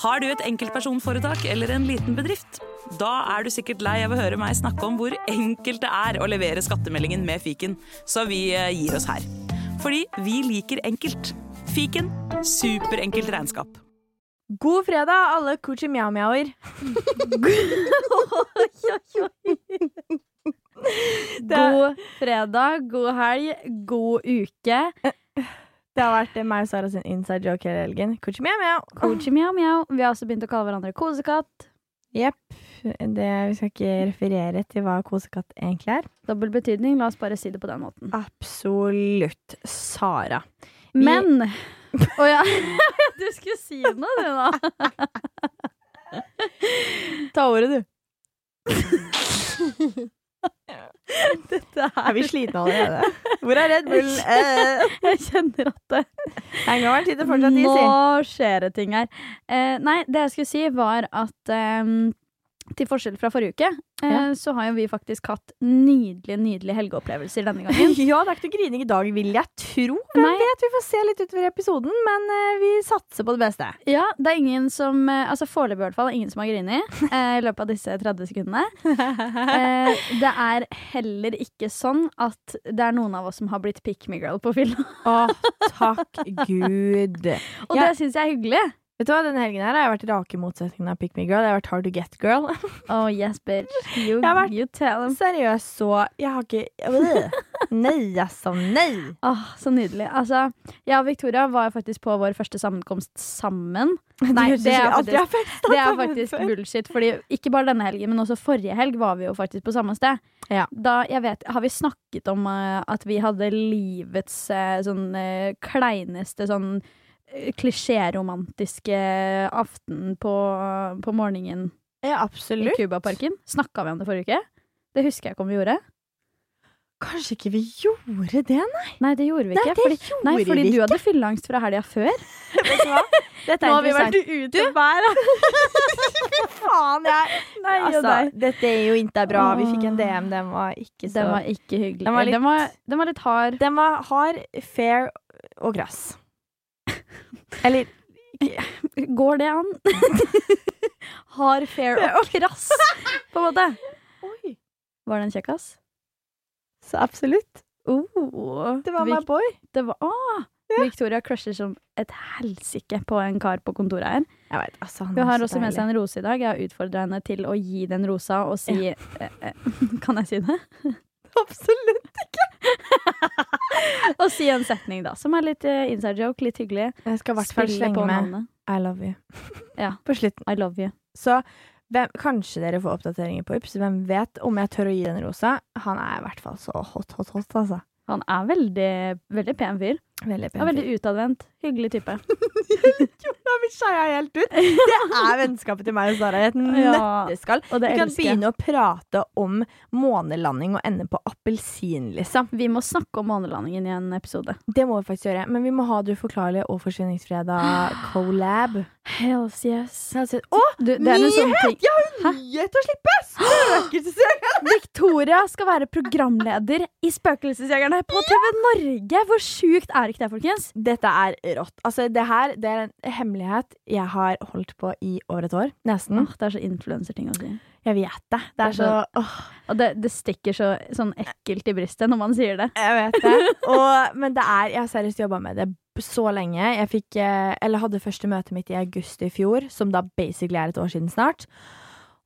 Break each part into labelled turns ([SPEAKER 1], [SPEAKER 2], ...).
[SPEAKER 1] Har du et enkeltpersonforetak eller en liten bedrift? Da er du sikkert lei av å høre meg snakke om hvor enkelt det er å levere skattemeldingen med fiken, så vi eh, gir oss her. Fordi vi liker enkelt. Fiken superenkelt regnskap.
[SPEAKER 2] God fredag, alle coochie miau miauer
[SPEAKER 3] God fredag, god helg, god uke.
[SPEAKER 2] Det har vært eh, meg og Sara sin inside joke hele helgen. Coochie miau miau
[SPEAKER 3] Kochi mjau mjau. Vi har også begynt å kalle hverandre kosekatt.
[SPEAKER 2] Jepp. Det, vi skal ikke referere til hva kosekatt egentlig er.
[SPEAKER 3] Dobbel betydning. La oss bare si det på den måten.
[SPEAKER 2] Absolutt. Sara. Vi-
[SPEAKER 3] Men Å ja. Du skulle si noe, du nå.
[SPEAKER 2] Ta ordet, du.
[SPEAKER 3] Dette
[SPEAKER 2] Er vi slitne allerede? Hvor er Red Bull? Eh,
[SPEAKER 3] Jeg kjenner at det
[SPEAKER 2] Hangoveren sitter fortsatt i, si.
[SPEAKER 3] Nå skjer det ting her. Eh, nei, det jeg skulle si var at eh, til forskjell fra forrige uke, eh,
[SPEAKER 2] Ja.
[SPEAKER 3] så har jo vi faktisk hatt nydelige, nydelige helgeopplevelser denne gangen.
[SPEAKER 2] Ja, det er ikke noe grining i dag, vil jeg tro.
[SPEAKER 3] Nei.
[SPEAKER 2] Hvem vet? Vi får se litt utover episoden, men eh, vi satser på det beste.
[SPEAKER 3] Ja, det er ingen som eh, Altså foreløpig i hvert fall, er ingen som har grini eh, i løpet av disse 30 sekundene. Eh, det er heller ikke sånn at det er noen av oss som har blitt pick me girl på film.
[SPEAKER 2] Å, takk Gud.
[SPEAKER 3] Og
[SPEAKER 2] Ja.
[SPEAKER 3] det syns jeg er hyggelig.
[SPEAKER 2] Vet du hva, Denne helgen her har jeg vært rake motsetningen av Pick Me Girl. Jeg har vært Hard to Get Girl.
[SPEAKER 3] Oh yes, bitch. You,
[SPEAKER 2] Jeg har vært-
[SPEAKER 3] you tell them.
[SPEAKER 2] Seriøst, så Jeg har ikke Øh. Nei, altså. Nei.
[SPEAKER 3] Åh, så nydelig. Altså, jeg og Victoria var jo faktisk på vår første sammenkomst sammen. Nei,
[SPEAKER 2] høres
[SPEAKER 3] det er
[SPEAKER 2] ut som vi aldri
[SPEAKER 3] faktisk,
[SPEAKER 2] har festet
[SPEAKER 3] det er
[SPEAKER 2] sammen
[SPEAKER 3] faktisk
[SPEAKER 2] før.
[SPEAKER 3] bullshit. Fordi ikke bare denne helgen, men også forrige helg var vi jo faktisk på samme sted.
[SPEAKER 2] Ja.
[SPEAKER 3] Da, jeg vet, har vi snakket om eh, at vi hadde livets eh, sånn eh, kleineste sånn eh, klisjéromantiske eh, aften på, eh, på morgenen
[SPEAKER 2] Ja,
[SPEAKER 3] i
[SPEAKER 2] absolutt.
[SPEAKER 3] Cubaparken? Snakka vi om det forrige uke? Det husker jeg ikke om vi gjorde.
[SPEAKER 2] Kanskje ikke vi gjorde det, nei?
[SPEAKER 3] Nei, det gjorde vi
[SPEAKER 2] Nei,
[SPEAKER 3] ikke.
[SPEAKER 2] det
[SPEAKER 3] fordi, nei,
[SPEAKER 2] gjorde
[SPEAKER 3] fordi
[SPEAKER 2] vi
[SPEAKER 3] du hadde fylleangst fra helga før.
[SPEAKER 2] Vet du hva? Dette
[SPEAKER 3] Nå har vi vært
[SPEAKER 2] ute hver Fy faen, jeg.
[SPEAKER 3] Nei,
[SPEAKER 2] Altså, dette er jo ikke bra. Vi fikk en DM, den var ikke så
[SPEAKER 3] Den var ikke hyggelig.
[SPEAKER 2] Den var litt-
[SPEAKER 3] den, var, den var litt hard.
[SPEAKER 2] Den var hard, fair og grass. Eller
[SPEAKER 3] Går det an? hard, fair og krass, på en måte.
[SPEAKER 2] Oi.
[SPEAKER 3] Var den kjekk, ass?
[SPEAKER 2] Så absolutt.
[SPEAKER 3] Oh,
[SPEAKER 2] Det var my
[SPEAKER 3] Vic-
[SPEAKER 2] boy.
[SPEAKER 3] det var, ah, Victoria crusher som et helsike på en kar på kontoret her.
[SPEAKER 2] Jeg vet, altså, han
[SPEAKER 3] Hun
[SPEAKER 2] er
[SPEAKER 3] har
[SPEAKER 2] så
[SPEAKER 3] også med
[SPEAKER 2] deilig.
[SPEAKER 3] seg en rose i dag. Jeg har utfordra henne til å gi den rosa og si eh, eh, Kan jeg si det?
[SPEAKER 2] Absolutt.
[SPEAKER 3] Og si en setning, da. Som er litt eh, inside joke, litt hyggelig.
[SPEAKER 2] Jeg skal i hvert fall
[SPEAKER 3] Spille
[SPEAKER 2] slenge
[SPEAKER 3] på
[SPEAKER 2] med
[SPEAKER 3] navnet.
[SPEAKER 2] I love you
[SPEAKER 3] Ja.
[SPEAKER 2] på slutten.
[SPEAKER 3] I love you.
[SPEAKER 2] Så hvem, kanskje dere får oppdateringer på Ups. Hvem vet om jeg tør å gi den rosa? Han er i hvert fall så hot, hot, hot, altså.
[SPEAKER 3] Han er veldig, veldig pen fyr.
[SPEAKER 2] Veldig
[SPEAKER 3] Og veldig utadvendt. Hyggelig type.
[SPEAKER 2] Nå har vi skeia helt ut! Det er vennskapet til meg og Sara i et
[SPEAKER 3] Ja.
[SPEAKER 2] nøtteskall.
[SPEAKER 3] Og det
[SPEAKER 2] Vi kan
[SPEAKER 3] elsker jeg.
[SPEAKER 2] begynne å prate om månelanding og ende på appelsin, liksom.
[SPEAKER 3] Vi må snakke om månelandingen i en episode.
[SPEAKER 2] Det må vi faktisk gjøre. Men vi må ha Du forklarlige og Forsvinningsfredag-collab.
[SPEAKER 3] Hells yes.
[SPEAKER 2] Å,
[SPEAKER 3] Du, det er en sånn ting.
[SPEAKER 2] Jeg har jo nyhet å slippe! Spøkelsesjakt!
[SPEAKER 3] Victoria skal være programleder i Spøkelsesjegerne på TV Norge! Hvor sjukt er ikke det, folkens?
[SPEAKER 2] Dette er rått. Altså, det her det er en hemmelighet jeg har holdt på i over et år. Nesten.
[SPEAKER 3] Åh, det er så influenserting å si.
[SPEAKER 2] Jeg vet det. Det er så åh,
[SPEAKER 3] Og det, det stikker så sånn ekkelt i brystet når man sier det.
[SPEAKER 2] Jeg vet det. Og, men det er Jeg har seriøst jobba med det så lenge. Jeg fikk eh, Eller hadde første møtet mitt i august i fjor, som da basically er et år siden snart.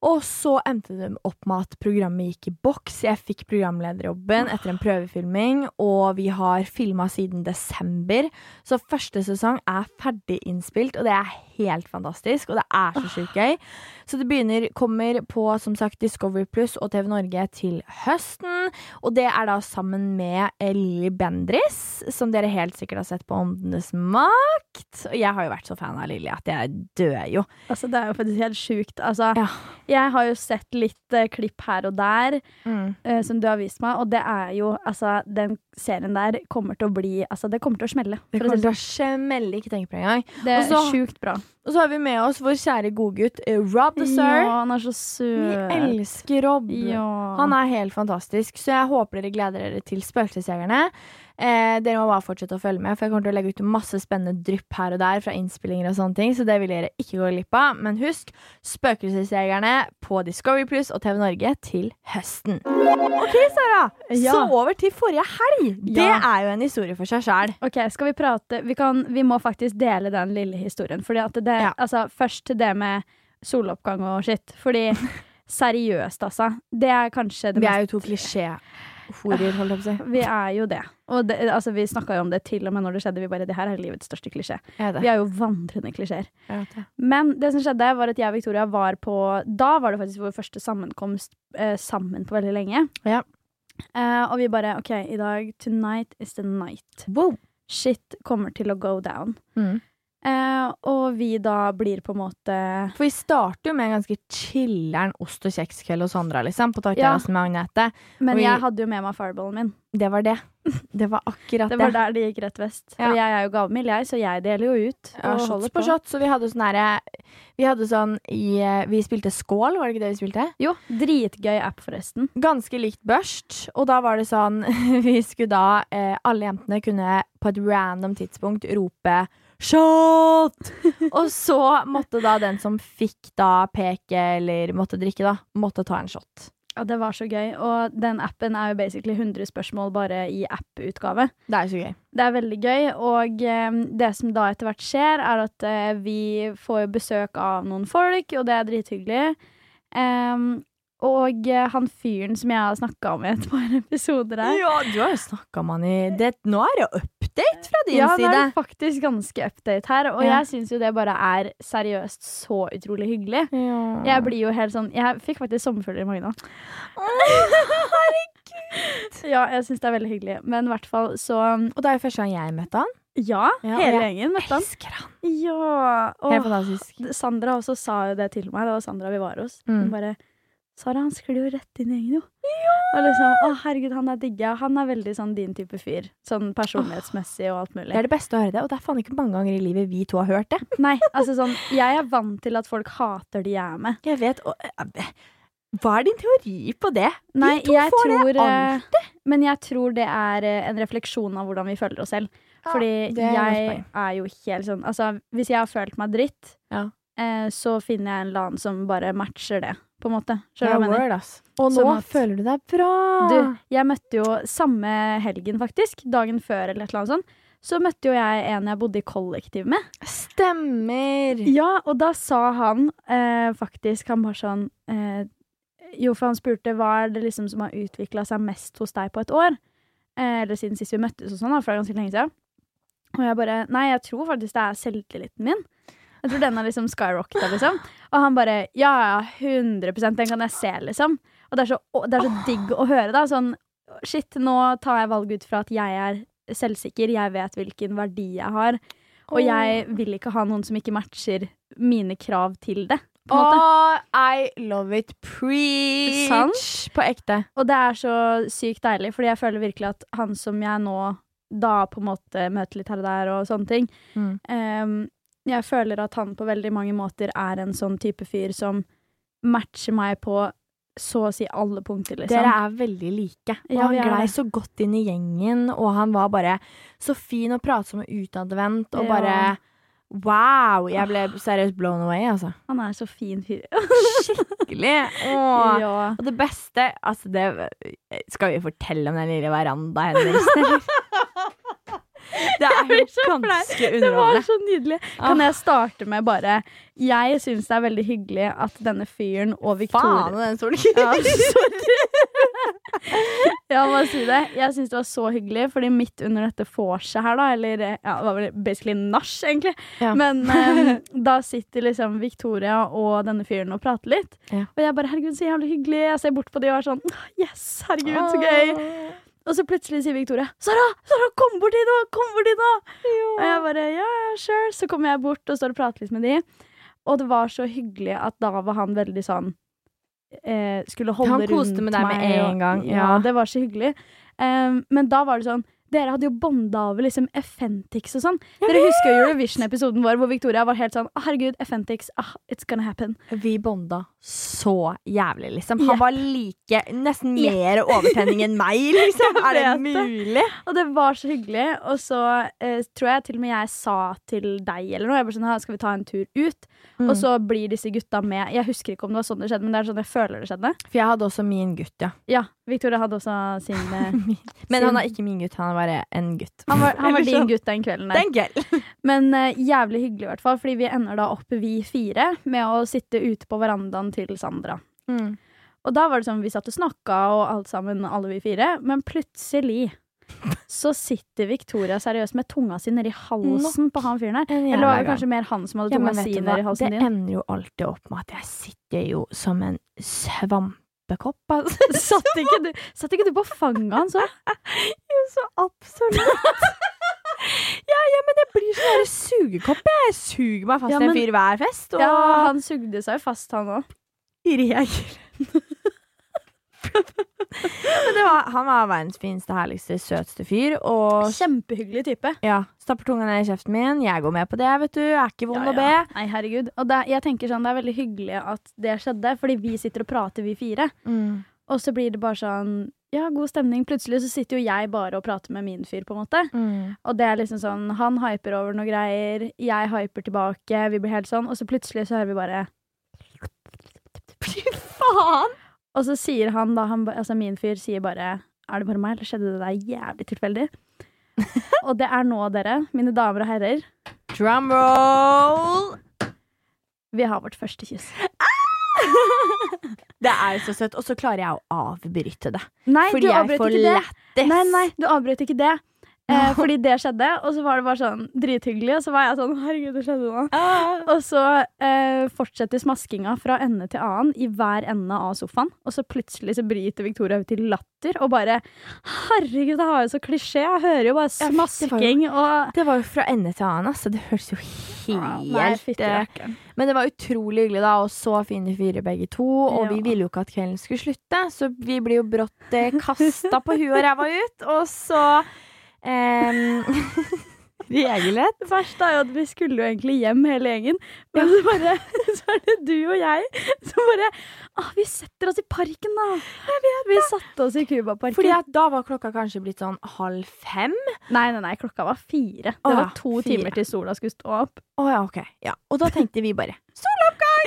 [SPEAKER 2] Og så endte det opp med at programmet gikk i boks. Jeg fikk programlederjobben etter en prøvefilming, og vi har filma siden desember. Så første sesong er ferdig innspilt, og det er helt fantastisk. Og det er så sjukt gøy. Så det begynner, kommer på som sagt Discovery Pluss og TV Norge til høsten. Og det er da sammen med eh, Lilly Bendris, som dere helt sikkert har sett på Åndenes makt. Og jeg har jo vært så fan av Lilly at jeg dør jo.
[SPEAKER 3] Altså, det er jo faktisk helt sjukt. Altså,
[SPEAKER 2] Ja.
[SPEAKER 3] Jeg har jo sett litt eh, klipp her og der
[SPEAKER 2] Mm.
[SPEAKER 3] eh, som du har vist meg, og det er jo Altså, den serien der kommer til å bli Altså, det kommer til å smelle.
[SPEAKER 2] Det
[SPEAKER 3] for å si
[SPEAKER 2] kommer til å smelle, ikke tenk på det engang.
[SPEAKER 3] Det er
[SPEAKER 2] Og så-
[SPEAKER 3] sjukt bra.
[SPEAKER 2] Og så har vi med oss vår kjære godgutt eh, Rob the Sir.
[SPEAKER 3] Ja, han er så
[SPEAKER 2] Vi
[SPEAKER 3] søt.
[SPEAKER 2] elsker Rob.
[SPEAKER 3] Ja.
[SPEAKER 2] Han er helt fantastisk, så jeg håper dere gleder dere til Spøkelsesjegerne. Eh, dere må bare fortsette å følge med, for jeg kommer til å legge ut masse spennende drypp her og der fra innspillinger og sånne ting, så det vil dere ikke gå glipp av. Men husk Spøkelsesjegerne på Discovery Pluss og TV Norge til høsten. OK, Sara.
[SPEAKER 3] Ja.
[SPEAKER 2] Så over til forrige helg. Det
[SPEAKER 3] Ja.
[SPEAKER 2] er jo en historie for seg sjæl.
[SPEAKER 3] Ok, skal vi prate vi, kan, vi må faktisk dele den lille historien. Fordi at det,
[SPEAKER 2] Ja.
[SPEAKER 3] altså, først til det med soloppgang og shit. Fordi seriøst, altså. Det er kanskje det
[SPEAKER 2] Vi
[SPEAKER 3] mest
[SPEAKER 2] er jo to klisjéhorer, holdt jeg på å si.
[SPEAKER 3] Vi er jo det. Og det, altså, vi snakka jo om det til og med når det skjedde. Vi bare, det her er livets største klisjé.
[SPEAKER 2] Er
[SPEAKER 3] Vi er jo vandrende klisjeer.
[SPEAKER 2] det.
[SPEAKER 3] Men det som skjedde, var at jeg og Victoria var på Da var det faktisk vår første sammenkomst eh, sammen på veldig lenge.
[SPEAKER 2] Ja.
[SPEAKER 3] Eh, og vi bare OK, i dag Tonight is the night.
[SPEAKER 2] Wow.
[SPEAKER 3] Shit kommer til å go down.
[SPEAKER 2] Mm.
[SPEAKER 3] Eh, og vi da blir på en måte
[SPEAKER 2] For vi starter jo med en ganske chiller'n ost og kjekskveld hos Sandra, liksom, på
[SPEAKER 3] Ja.
[SPEAKER 2] takterrassen med Agnete.
[SPEAKER 3] Men
[SPEAKER 2] Og vi-
[SPEAKER 3] jeg hadde jo med meg fireballen min.
[SPEAKER 2] Det var det. Det var akkurat det.
[SPEAKER 3] Det var der det gikk rett vest.
[SPEAKER 2] Ja.
[SPEAKER 3] Og jeg er jo gavmild, jeg, så jeg deler jo ut.
[SPEAKER 2] Ja,
[SPEAKER 3] og
[SPEAKER 2] shots
[SPEAKER 3] holder
[SPEAKER 2] på shots, så vi hadde sånn herre Vi hadde sånn i eh, Vi spilte skål, var det ikke det vi spilte?
[SPEAKER 3] Jo, dritgøy app, forresten.
[SPEAKER 2] Ganske likt børst, og da var det sånn Vi skulle da eh, Alle jentene kunne på et random tidspunkt rope Shot! Og så måtte da den som fikk da peke eller måtte drikke, da, måtte ta en shot.
[SPEAKER 3] Ja, det var så gøy. Og den appen er jo basically 100 spørsmål bare i app-utgave.
[SPEAKER 2] Det er jo så gøy.
[SPEAKER 3] Det er veldig gøy, og eh, det som da etter hvert skjer, er at eh, vi får besøk av noen folk, og det er drithyggelig. Em, og eh, han fyren som jeg har snakka om i et par episoder her
[SPEAKER 2] Ja, du har jo snakka om han i det, Nå er det jo update fra din
[SPEAKER 3] Ja, han
[SPEAKER 2] side.
[SPEAKER 3] er faktisk ganske update her, og
[SPEAKER 2] Ja.
[SPEAKER 3] jeg syns jo det bare er seriøst så utrolig hyggelig.
[SPEAKER 2] Ja.
[SPEAKER 3] Jeg blir jo helt sånn Jeg fikk faktisk sommerfugler i magen nå. Ja, jeg syns det er veldig hyggelig. Men i hvert fall så
[SPEAKER 2] Og det er jo første gang jeg møtte han.
[SPEAKER 3] Ja,
[SPEAKER 2] Ja,
[SPEAKER 3] hele
[SPEAKER 2] og jeg
[SPEAKER 3] gjengen møtte han.
[SPEAKER 2] Elsker han.
[SPEAKER 3] Ja.
[SPEAKER 2] Helt
[SPEAKER 3] Og
[SPEAKER 2] fantastisk.
[SPEAKER 3] Sandra også sa jo det til meg. Det var Sandra vi var hos.
[SPEAKER 2] Mm.
[SPEAKER 3] Hun bare Sara, han sklir jo rett inn i gjengen, jo. Og liksom, å herregud, han er digga. Han er veldig sånn din type fyr. Sånn personlighetsmessig og alt
[SPEAKER 2] Det
[SPEAKER 3] mulig.
[SPEAKER 2] er det beste å høre det, og det er faen ikke mange ganger i livet vi to har hørt det.
[SPEAKER 3] Nei, altså sånn Jeg er vant til at folk hater de jeg er med.
[SPEAKER 2] Jeg vet, og, eh, Hva er din teori på det?
[SPEAKER 3] Nei,
[SPEAKER 2] to
[SPEAKER 3] jeg
[SPEAKER 2] får det
[SPEAKER 3] tror, eh, Men jeg tror det er eh, en refleksjon av hvordan vi føler oss selv. Fordi
[SPEAKER 2] det er et
[SPEAKER 3] jeg
[SPEAKER 2] poeng.
[SPEAKER 3] er jo helt sånn Altså, hvis jeg har følt meg dritt,
[SPEAKER 2] Ja.
[SPEAKER 3] eh, så finner jeg en eller annen som bare matcher det, på en måte. Skjønner du hva jeg mener?
[SPEAKER 2] word, ass. Og nå
[SPEAKER 3] Sånn at-
[SPEAKER 2] føler du deg bra.
[SPEAKER 3] Du, jeg møtte jo samme helgen, faktisk, dagen før eller et eller annet sånt, så møtte jo jeg en jeg bodde i kollektiv med.
[SPEAKER 2] Stemmer.
[SPEAKER 3] Ja, og da sa han eh, faktisk Han bare sånn eh, Jo, for han spurte hva er det liksom som har utvikla seg mest hos deg på et år? Eh, eller siden sist vi møttes og sånn, da, for det er ganske lenge siden. Og jeg bare Nei, jeg tror faktisk det er selvtilliten min. Jeg tror den har liksom skyrocketet, liksom. Og han bare Ja, ja, 100 den kan jeg se, liksom. Og det er så, å- det er så digg å høre, da. Sånn Shit, nå tar jeg valg ut fra at jeg er selvsikker, jeg vet hvilken verdi jeg har. Og
[SPEAKER 2] Åh.
[SPEAKER 3] jeg vil ikke ha noen som ikke matcher mine krav til det. På en måte.
[SPEAKER 2] Oh, I love it. Preach.
[SPEAKER 3] Sant?
[SPEAKER 2] På ekte.
[SPEAKER 3] Og det er så sykt deilig, fordi jeg føler virkelig at han som jeg nå da på en måte møter litt her og der og sånne ting
[SPEAKER 2] Mm.
[SPEAKER 3] ehm, Jeg føler at han på veldig mange måter er en sånn type fyr som matcher meg på så å si alle punkter, liksom.
[SPEAKER 2] Dere er veldig like. Og
[SPEAKER 3] Ja,
[SPEAKER 2] han
[SPEAKER 3] vi er
[SPEAKER 2] glei
[SPEAKER 3] det.
[SPEAKER 2] så godt inn i gjengen, og han var bare så fin og pratsom og utadvendt, og
[SPEAKER 3] Ja.
[SPEAKER 2] bare Wow! Jeg ble seriøst blown away, altså.
[SPEAKER 3] Han er så fin fyr.
[SPEAKER 2] Skikkelig. Åh.
[SPEAKER 3] Ja.
[SPEAKER 2] Og det beste altså det, Skal vi fortelle om den lille verandaen hennes? eller? Det er
[SPEAKER 3] blir så
[SPEAKER 2] jo
[SPEAKER 3] flau.
[SPEAKER 2] ganske
[SPEAKER 3] Det var
[SPEAKER 2] underholdende.
[SPEAKER 3] så nydelig. Kan jeg starte med bare Jeg syns det er veldig hyggelig at denne fyren og Victoria
[SPEAKER 2] Faen, den solkrisen!
[SPEAKER 3] Ja, sorry. ja, bare si det. Jeg syns det var så hyggelig, fordi midt under dette vorset her, da, eller eh, ja, det var vel basically nach, egentlig,
[SPEAKER 2] Ja.
[SPEAKER 3] men eh, da sitter liksom Victoria og denne fyren og prater litt.
[SPEAKER 2] Ja.
[SPEAKER 3] Og jeg bare 'herregud, så jævlig hyggelig'. Jeg ser bort på de og er sånn 'yes, herregud, så gøy'. Og så plutselig sier Victoria 'Sara, Sara, kom bort hit nå! Kom bort hit nå!' Og jeg bare 'ja, ja, sure'. Så kommer jeg bort og står og prater litt med de. Og det var så hyggelig at da var han veldig sånn eh, Skulle holde
[SPEAKER 2] Han
[SPEAKER 3] rundt meg.
[SPEAKER 2] koste med deg med
[SPEAKER 3] og-
[SPEAKER 2] en gang,
[SPEAKER 3] Ja.
[SPEAKER 2] ja.
[SPEAKER 3] det var så hyggelig. Um, Ehm, men da var det sånn Dere hadde jo bonda over liksom Effentix og sånn. Dere husker jo Eurovision-episoden vår hvor Victoria var helt sånn «Å, Herregud, Effentix, ah, it's gonna happen.
[SPEAKER 2] Vi bonda så jævlig, liksom. Han
[SPEAKER 3] Jepp.
[SPEAKER 2] var like Nesten mer overtenning enn meg, liksom. Er det
[SPEAKER 3] vet det.
[SPEAKER 2] mulig?
[SPEAKER 3] Og det var så hyggelig. Og så eh, tror jeg til og med jeg sa til deg eller noe Jeg bare sånn, «Ha, Skal vi ta en tur ut? Og så blir disse gutta med. Jeg husker ikke om det var sånn det skjedde, men det er sånn jeg føler det skjedde.
[SPEAKER 2] For jeg hadde også min gutt, ja.
[SPEAKER 3] Ja, Victoria hadde også sin eh,
[SPEAKER 2] Men
[SPEAKER 3] Sin-
[SPEAKER 2] han er ikke min gutt, han er bare en gutt.
[SPEAKER 3] Han var, han var
[SPEAKER 2] Eller sånn.
[SPEAKER 3] din gutt den kvelden. Der. Men eh, jævlig hyggelig, i hvert fall. Fordi vi ender da opp, vi fire, med å sitte ute på verandaen til Sandra.
[SPEAKER 2] Mm.
[SPEAKER 3] Og da var det sånn, vi satt og snakka og alt sammen, alle vi fire, men plutselig så sitter Victoria seriøst med tunga si nedi halsen på han fyren her. Eller var det kanskje mer han som hadde
[SPEAKER 2] Ja, men vet
[SPEAKER 3] tunga si
[SPEAKER 2] du hva?
[SPEAKER 3] nedi halsen
[SPEAKER 2] Det
[SPEAKER 3] din?
[SPEAKER 2] ender jo alltid opp med at jeg sitter jo som en svampekopp, altså.
[SPEAKER 3] Satt ikke, du, satt ikke du på fanget hans òg?
[SPEAKER 2] Så absolutt. ja, ja, men jeg blir sånn der sugekopp. Jeg suger meg fast i
[SPEAKER 3] Ja,
[SPEAKER 2] en
[SPEAKER 3] men-
[SPEAKER 2] fyr hver fest. Og
[SPEAKER 3] Ja, han sugde seg jo fast, han òg.
[SPEAKER 2] reagerer. men det var, han var verdens fineste, herligste, søteste fyr. Og
[SPEAKER 3] Kjempehyggelig type.
[SPEAKER 2] ja, stapper tunga ned i kjeften min. Jeg går med på det, vet du. Er ikke vond å be.
[SPEAKER 3] Nei, herregud. Og det, jeg tenker sånn, det er veldig hyggelig at det skjedde, fordi vi sitter og prater, vi fire.
[SPEAKER 2] Mm,
[SPEAKER 3] Og så blir det bare sånn ja, god stemning. Plutselig så sitter jo jeg bare og prater med min fyr, på en måte.
[SPEAKER 2] mm.
[SPEAKER 3] Og det er liksom sånn, han hyper over noen greier, jeg hyper tilbake, vi blir helt sånn, og så plutselig så hører vi bare
[SPEAKER 2] Fy faen!
[SPEAKER 3] Og så sier han da, han, ba- altså min fyr sier bare Er det bare meg, eller skjedde det der jævlig tilfeldig? og det er nå, dere, mine damer og herrer,
[SPEAKER 2] Drum roll!
[SPEAKER 3] vi har vårt første kyss.
[SPEAKER 2] Det er så søtt. Og så klarer jeg å avbryte det.
[SPEAKER 3] Nei,
[SPEAKER 2] Fordi
[SPEAKER 3] du
[SPEAKER 2] jeg
[SPEAKER 3] avbrøt
[SPEAKER 2] får
[SPEAKER 3] ikke det.
[SPEAKER 2] lættis.
[SPEAKER 3] Nei, nei, du avbrøt ikke det. Eh, fordi det skjedde, og så var det bare sånn drithyggelig, og så var jeg sånn Herregud, det skjedde nå.
[SPEAKER 2] Ah.
[SPEAKER 3] Og så eh, fortsetter smaskinga fra ende til annen i hver ende av sofaen. Og så plutselig så bryter Victoria ut i latter og bare Herregud, det har jo så klisjé! Jeg hører jo bare
[SPEAKER 2] Ja, fy, det var
[SPEAKER 3] smasking og
[SPEAKER 2] Det var jo fra ende til annen, altså. Det hørtes jo helt eh,
[SPEAKER 3] rakkeren.
[SPEAKER 2] Men det var utrolig hyggelig, da, og så fine fyrer begge to. Og
[SPEAKER 3] Ja.
[SPEAKER 2] vi ville jo ikke at kvelden skulle slutte, så vi blir jo brått eh, kasta på huet og ræva ut. Og så eh, Regelrett.
[SPEAKER 3] Det verste er jo at vi skulle jo egentlig hjem hele gjengen, men så, bare, så er det du og jeg som bare Å, vi setter oss i parken, da! Vi satte oss i Cubaparken.
[SPEAKER 2] Fordi at da var klokka kanskje blitt sånn halv fem.
[SPEAKER 3] Nei, nei, nei, klokka var fire. Det
[SPEAKER 2] Å,
[SPEAKER 3] var to
[SPEAKER 2] fire.
[SPEAKER 3] timer til sola skulle stå opp.
[SPEAKER 2] Å ja, ok. Ja. Og da tenkte vi bare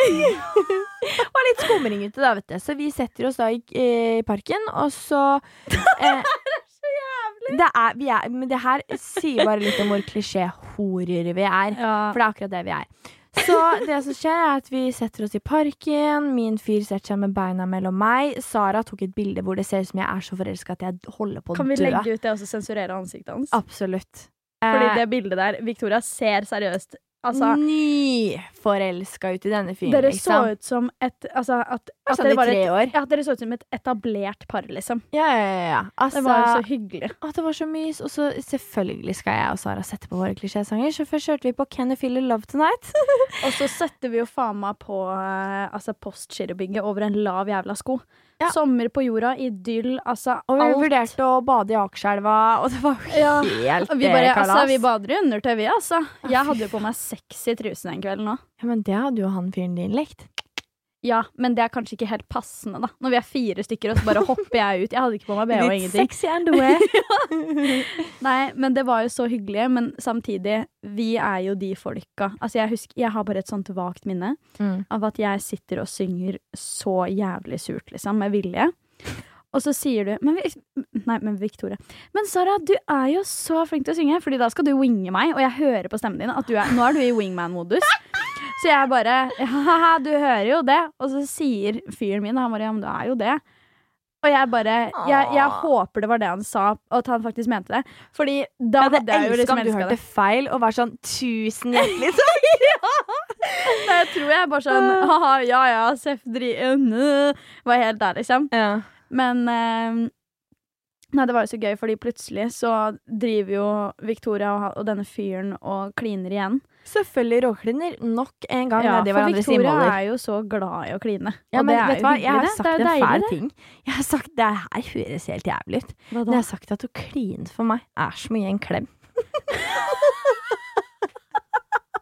[SPEAKER 2] soloppgang! og litt skumring ute, da, vet du. Så vi setter oss da i eh, parken, og så eh, Det er, vi er, men det her sier bare litt om hvor klisjé-horer vi er.
[SPEAKER 3] Ja.
[SPEAKER 2] For det er akkurat det vi er. Så det som skjer, er at vi setter oss i parken. Min fyr setter seg med beina mellom meg. Sara tok et bilde hvor det ser ut som jeg er så forelska at jeg holder på å
[SPEAKER 3] Kan vi
[SPEAKER 2] dø.
[SPEAKER 3] legge ut det og så sensurere ansiktet hans?
[SPEAKER 2] Absolutt.
[SPEAKER 3] Fordi det bildet der Victoria ser seriøst Altså,
[SPEAKER 2] Nyforelska ut i denne fyren,
[SPEAKER 3] dere så
[SPEAKER 2] liksom.
[SPEAKER 3] ut som et Altså, at, at,
[SPEAKER 2] Sånn
[SPEAKER 3] dere
[SPEAKER 2] i
[SPEAKER 3] Mm, var
[SPEAKER 2] tre
[SPEAKER 3] et,
[SPEAKER 2] år.
[SPEAKER 3] ja, at dere så ut som et etablert par, liksom.
[SPEAKER 2] Ja, ja, ja. ja. Altså,
[SPEAKER 3] Det var jo så hyggelig.
[SPEAKER 2] Å, det var så mys. Og så selvfølgelig skal jeg og Sara sette på våre klisjésanger, så først hørte vi på Can You Feel the Love Tonight.
[SPEAKER 3] Og så setter vi jo faen meg på eh, altså postgirobygget over en lav jævla sko.
[SPEAKER 2] Ja.
[SPEAKER 3] Sommer på jorda, idyll, altså
[SPEAKER 2] Og vi
[SPEAKER 3] alt.
[SPEAKER 2] vurderte å bade i Akerselva, og det var jo
[SPEAKER 3] Ja.
[SPEAKER 2] helt
[SPEAKER 3] Og vi bare,
[SPEAKER 2] eh, kalas.
[SPEAKER 3] altså, vi bader i undertøy, vi, altså. Jeg hadde jo på meg sexy truse den kvelden òg.
[SPEAKER 2] Ja, men det hadde jo han fyren din likt.
[SPEAKER 3] Ja, men det er kanskje ikke helt passende, da. Når vi er fire stykker, og så bare hopper jeg ut. Jeg hadde ikke på meg BH og ingenting.
[SPEAKER 2] sexy underwear.
[SPEAKER 3] Nei, men det var jo så hyggelig. Men samtidig, vi er jo de folka. Altså, jeg, husker, jeg har bare et sånt vagt minne
[SPEAKER 2] Mm.
[SPEAKER 3] av at jeg sitter og synger så jævlig surt, liksom, med vilje. Og så sier du men, vi- Nei, men Victoria. Men Sara, du er jo så flink til å synge, Fordi da skal du winge meg, og jeg hører på stemmen din at du er, nå er du i wingman-modus. Så jeg bare Haha, du hører jo det. Og så sier fyren min, han bare ja, men du er jo det. Og jeg bare jeg, jeg
[SPEAKER 2] Åh.
[SPEAKER 3] håper det var det han sa, og at han faktisk mente det. Fordi da
[SPEAKER 2] Jeg
[SPEAKER 3] hadde jeg jo
[SPEAKER 2] om
[SPEAKER 3] liksom
[SPEAKER 2] du
[SPEAKER 3] elska
[SPEAKER 2] hørte
[SPEAKER 3] det.
[SPEAKER 2] feil og var sånn tusen hjertelig takk.
[SPEAKER 3] Nei, Jeg tror jeg bare sånn haha, ja ja, Seff dri... øh, nø», Var helt der, liksom. Men eh, Nei, det var jo så gøy, fordi plutselig så driver jo Victoria og, og denne fyren og kliner igjen.
[SPEAKER 2] Selvfølgelig råkliner nok en gang
[SPEAKER 3] Ja,
[SPEAKER 2] nedi
[SPEAKER 3] for
[SPEAKER 2] hverandres
[SPEAKER 3] Victoria
[SPEAKER 2] innvoller.
[SPEAKER 3] er jo så glad i å kline.
[SPEAKER 2] Ja,
[SPEAKER 3] og
[SPEAKER 2] men
[SPEAKER 3] det er
[SPEAKER 2] vet du
[SPEAKER 3] jo
[SPEAKER 2] hva, jeg
[SPEAKER 3] hyggelig,
[SPEAKER 2] har
[SPEAKER 3] det.
[SPEAKER 2] sagt
[SPEAKER 3] det
[SPEAKER 2] en
[SPEAKER 3] er jo
[SPEAKER 2] fæl
[SPEAKER 3] deilig,
[SPEAKER 2] ting. Jeg har sagt, Det her høres helt jævlig ut.
[SPEAKER 3] det. Hva
[SPEAKER 2] Men jeg
[SPEAKER 3] da?
[SPEAKER 2] har sagt at å kline for meg er som å gi en klem.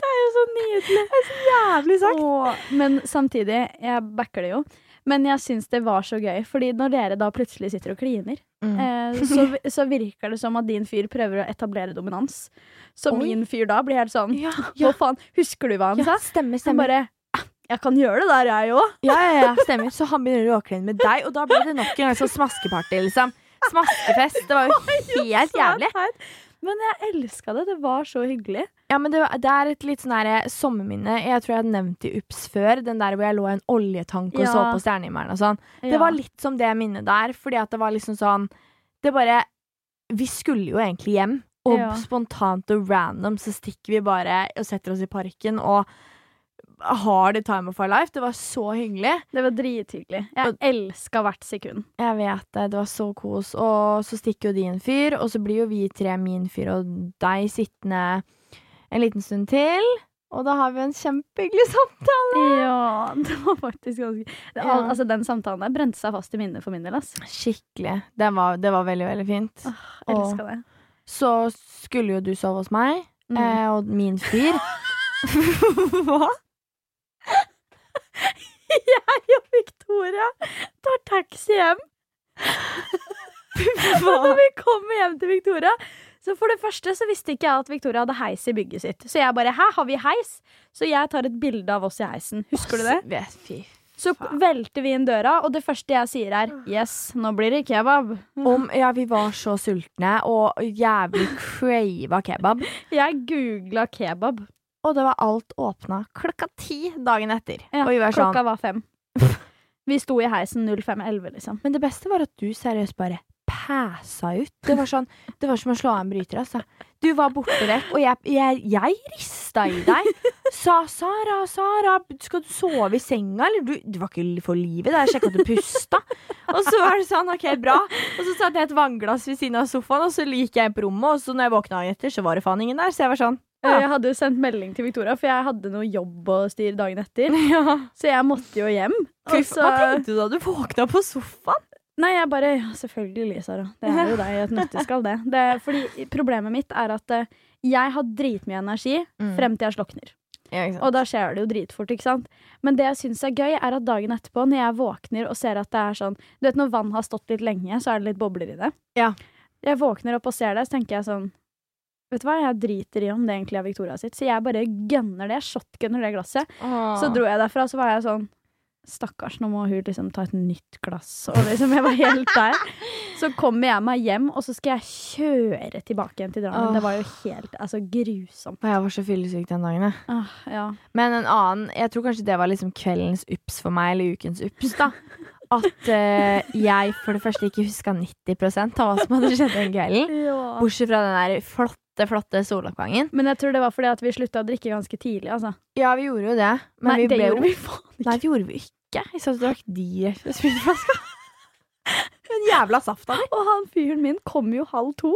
[SPEAKER 3] Det er jo så nydelig.
[SPEAKER 2] Jævlig
[SPEAKER 3] Åh, men samtidig, jeg backer det jo. Men jeg syns det var så gøy, fordi når dere da plutselig sitter og kliner,
[SPEAKER 2] Mm.
[SPEAKER 3] eh, så, så virker det som at din fyr prøver å etablere dominans. Så
[SPEAKER 2] Oi.
[SPEAKER 3] min fyr da blir helt sånn
[SPEAKER 2] Ja,
[SPEAKER 3] Hva faen, husker du hva han
[SPEAKER 2] ja,
[SPEAKER 3] sa?
[SPEAKER 2] stemmer,
[SPEAKER 3] Han
[SPEAKER 2] stemmer.
[SPEAKER 3] bare «Ah, Jeg kan gjøre det der, jeg òg.
[SPEAKER 2] Ja, ja, ja, stemmer. Så han begynner å råkline med deg, og da ble det nok en gang sånn smaskeparty, liksom. Smaskefest. Det var jo helt jævlig.
[SPEAKER 3] Men jeg elska det. Det var så hyggelig.
[SPEAKER 2] Ja, men det, var- det er et litt sånn her sommerminne. Jeg tror jeg hadde nevnt det i UPS før. Den der hvor jeg lå i en oljetank og
[SPEAKER 3] Ja.
[SPEAKER 2] så på stjernehimmelen og sånn. Det var litt som det minnet der, fordi at det var liksom sånn Det bare Vi skulle jo egentlig hjem, og
[SPEAKER 3] Ja.
[SPEAKER 2] spontant og random så stikker vi bare og setter oss i parken og har the time of our life. Det var så hyggelig.
[SPEAKER 3] Det var drithyggelig. Jeg elska hvert sekund.
[SPEAKER 2] Jeg vet det. Det var så kos. Og så stikker jo de en fyr, og så blir jo vi tre, min fyr og deg, sittende en liten stund til. Og da har vi en kjempehyggelig samtale.
[SPEAKER 3] Ja, det var faktisk ganske det, al-
[SPEAKER 2] Ja.
[SPEAKER 3] Altså, Den samtalen der brente seg fast i minnet for min del. ass.
[SPEAKER 2] Skikkelig. Det var, det var veldig, veldig fint.
[SPEAKER 3] Elska det.
[SPEAKER 2] Ah. Så skulle jo du sove hos meg.
[SPEAKER 3] Mm.
[SPEAKER 2] Eh, og min fyr Hva?
[SPEAKER 3] jeg og Victoria tar taxi hjem. Og
[SPEAKER 2] faen.
[SPEAKER 3] når vi kommer hjem til Victoria Så For det første så visste ikke jeg at Victoria hadde heis i bygget sitt. Så jeg bare 'hæ, har vi heis?' Så jeg tar et bilde av oss i heisen. Husker du det?
[SPEAKER 2] Vet- Fy.
[SPEAKER 3] Så velter vi inn døra, og det første jeg sier er
[SPEAKER 2] Ah.
[SPEAKER 3] 'yes, nå blir det kebab'.
[SPEAKER 2] Om, ja, vi var så sultne og jævlig crava kebab.
[SPEAKER 3] Jeg googla kebab.
[SPEAKER 2] Og det var alt åpna klokka ti dagen etter.
[SPEAKER 3] Ja,
[SPEAKER 2] og vi var sånn
[SPEAKER 3] Klokka var fem. Vi sto i heisen 05.11, liksom.
[SPEAKER 2] Men det beste var at du seriøst bare pæsa ut. Det var, sånn, det var som å slå av en bryter, altså. Du var borte vekk, og jeg, jeg, jeg rista i deg. Sa 'Sara, Sara, skal du sove i senga', eller? Du, du var ikke for livet da jeg sjekka at du pusta. Og så var det sånn, OK, bra. Og så satt jeg et vannglass ved siden av sofaen, og så gikk jeg inn på rommet, og så når jeg våkna dagen etter, så var det faen ingen der. Så jeg var sånn. Ja.
[SPEAKER 3] Jeg hadde jo sendt melding til Victoria, for jeg hadde noe jobb å styre dagen etter. Så jeg måtte jo hjem.
[SPEAKER 2] Fy,
[SPEAKER 3] Og
[SPEAKER 2] f-
[SPEAKER 3] så,
[SPEAKER 2] Hva tenkte du da du våkna på sofaen?
[SPEAKER 3] nei, jeg bare ja, Selvfølgelig, Sara. Det er jo deg i et nøtteskall, det. det. Fordi problemet mitt er at eh, jeg har dritmye energi
[SPEAKER 2] Mm.
[SPEAKER 3] frem til jeg slokner. Og da skjer det jo dritfort, ikke sant. Men det jeg syns er gøy, er at dagen etterpå, når jeg våkner og ser at det er sånn Du vet når vann har stått litt lenge, så er det litt bobler i det.
[SPEAKER 2] Ja.
[SPEAKER 3] Jeg våkner opp og ser det, så tenker jeg sånn Vet du hva, jeg driter i om det egentlig er Victoria sitt, så jeg bare gønner det. Jeg shotgunner det glasset. Så dro jeg derfra, så var jeg sånn Stakkars, nå må hun liksom ta et nytt glass. Og liksom, jeg var helt der. Så kommer jeg meg hjem, og så skal jeg kjøre tilbake igjen til Drammen.
[SPEAKER 2] Åh.
[SPEAKER 3] Det var jo helt altså, grusomt.
[SPEAKER 2] Og jeg var så fyllesyk den dagen, jeg.
[SPEAKER 3] Ah, ja.
[SPEAKER 2] Men en annen Jeg tror kanskje det var liksom kveldens ups for meg, eller ukens ups, da. At eh, jeg for det første ikke huska 90 av hva som hadde skjedd den kvelden. Bortsett fra den der flotte, flotte soloppgangen.
[SPEAKER 3] Men jeg tror det var fordi at vi slutta å drikke ganske tidlig. Altså.
[SPEAKER 2] Ja, vi gjorde jo det, men
[SPEAKER 3] Nei,
[SPEAKER 2] vi
[SPEAKER 3] det
[SPEAKER 2] ble
[SPEAKER 3] gjorde
[SPEAKER 2] jo
[SPEAKER 3] vi faen ikke.
[SPEAKER 2] Nei, det gjorde vi ikke. Vi satt og drakk direkte fra sprutflaska. Den jævla safta di.
[SPEAKER 3] Og han fyren min kom jo halv to.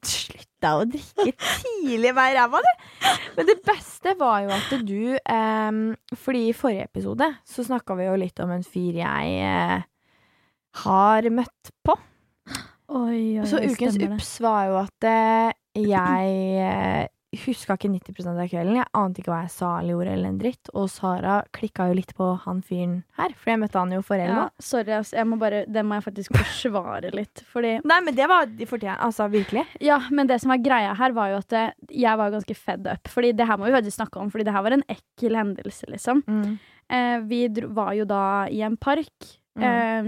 [SPEAKER 2] Slutta å drikke tidlig hver ræva, du. Men det beste var jo at du em, Fordi i forrige episode så snakka vi jo litt om en fyr jeg eh, har møtt på.
[SPEAKER 3] Oi,
[SPEAKER 2] Så ukens ups var jo at eh, jeg uh, huska ikke 90 av kvelden. Jeg ante ikke hva jeg sa eller gjorde, eller en dritt. Og Sara klikka jo litt på han fyren her, for jeg møtte han jo forrige
[SPEAKER 3] Ja,
[SPEAKER 2] helg.
[SPEAKER 3] sorry, ass. Jeg må bare, det må jeg faktisk forsvare litt. Fordi,
[SPEAKER 2] Nei, men det var de fortjent. Altså, virkelig.
[SPEAKER 3] ja, men det som var greia her, var jo at eh, jeg var ganske fed up. Fordi det her må vi faktisk snakke om, fordi det her var en ekkel hendelse, liksom. Eh, vi dro, var jo da i en park
[SPEAKER 2] Mm.
[SPEAKER 3] eh,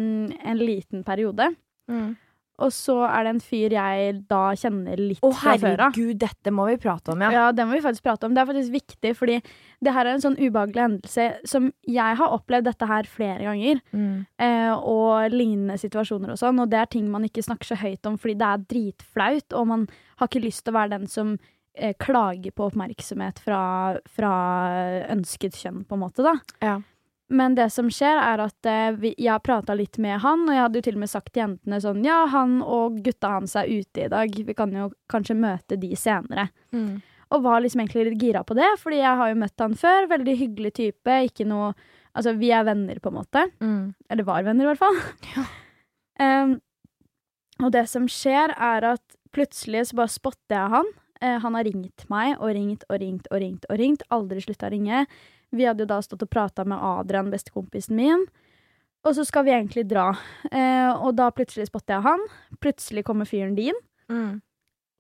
[SPEAKER 3] en liten periode. Mm. Og så er det en fyr jeg da kjenner litt
[SPEAKER 2] Å,
[SPEAKER 3] fra før av.
[SPEAKER 2] herregud, dette må vi prate om, ja.
[SPEAKER 3] Ja, det må vi faktisk prate om. Det er faktisk viktig, fordi det her er en sånn ubehagelig hendelse som jeg har opplevd dette her flere ganger.
[SPEAKER 2] Mm.
[SPEAKER 3] Eh, og lignende situasjoner og sånn. Og det er ting man ikke snakker så høyt om fordi det er dritflaut, og man har ikke lyst til å være den som eh, klager på oppmerksomhet fra, fra ønsket kjønn, på en måte, da.
[SPEAKER 2] Ja.
[SPEAKER 3] Men det som skjer, er at eh, vi, jeg prata litt med han, og jeg hadde jo til og med sagt til jentene sånn Ja, han og gutta hans er ute i dag, vi kan jo kanskje møte de senere. Og var liksom egentlig litt gira på det, fordi jeg har jo møtt han før. Veldig hyggelig type. Ikke noe Altså, vi er venner, på en måte.
[SPEAKER 2] Mm.
[SPEAKER 3] Eller var venner, i hvert fall. Em, og det som skjer, er at plutselig så bare spotter jeg han. Eh, han har ringt meg og ringt og ringt og ringt. og ringt, Aldri slutta å ringe. Vi hadde jo da stått og prata med Adrian, bestekompisen min. Og så skal vi egentlig dra. Eh, og da plutselig spotter jeg han. Plutselig kommer fyren din. Mm.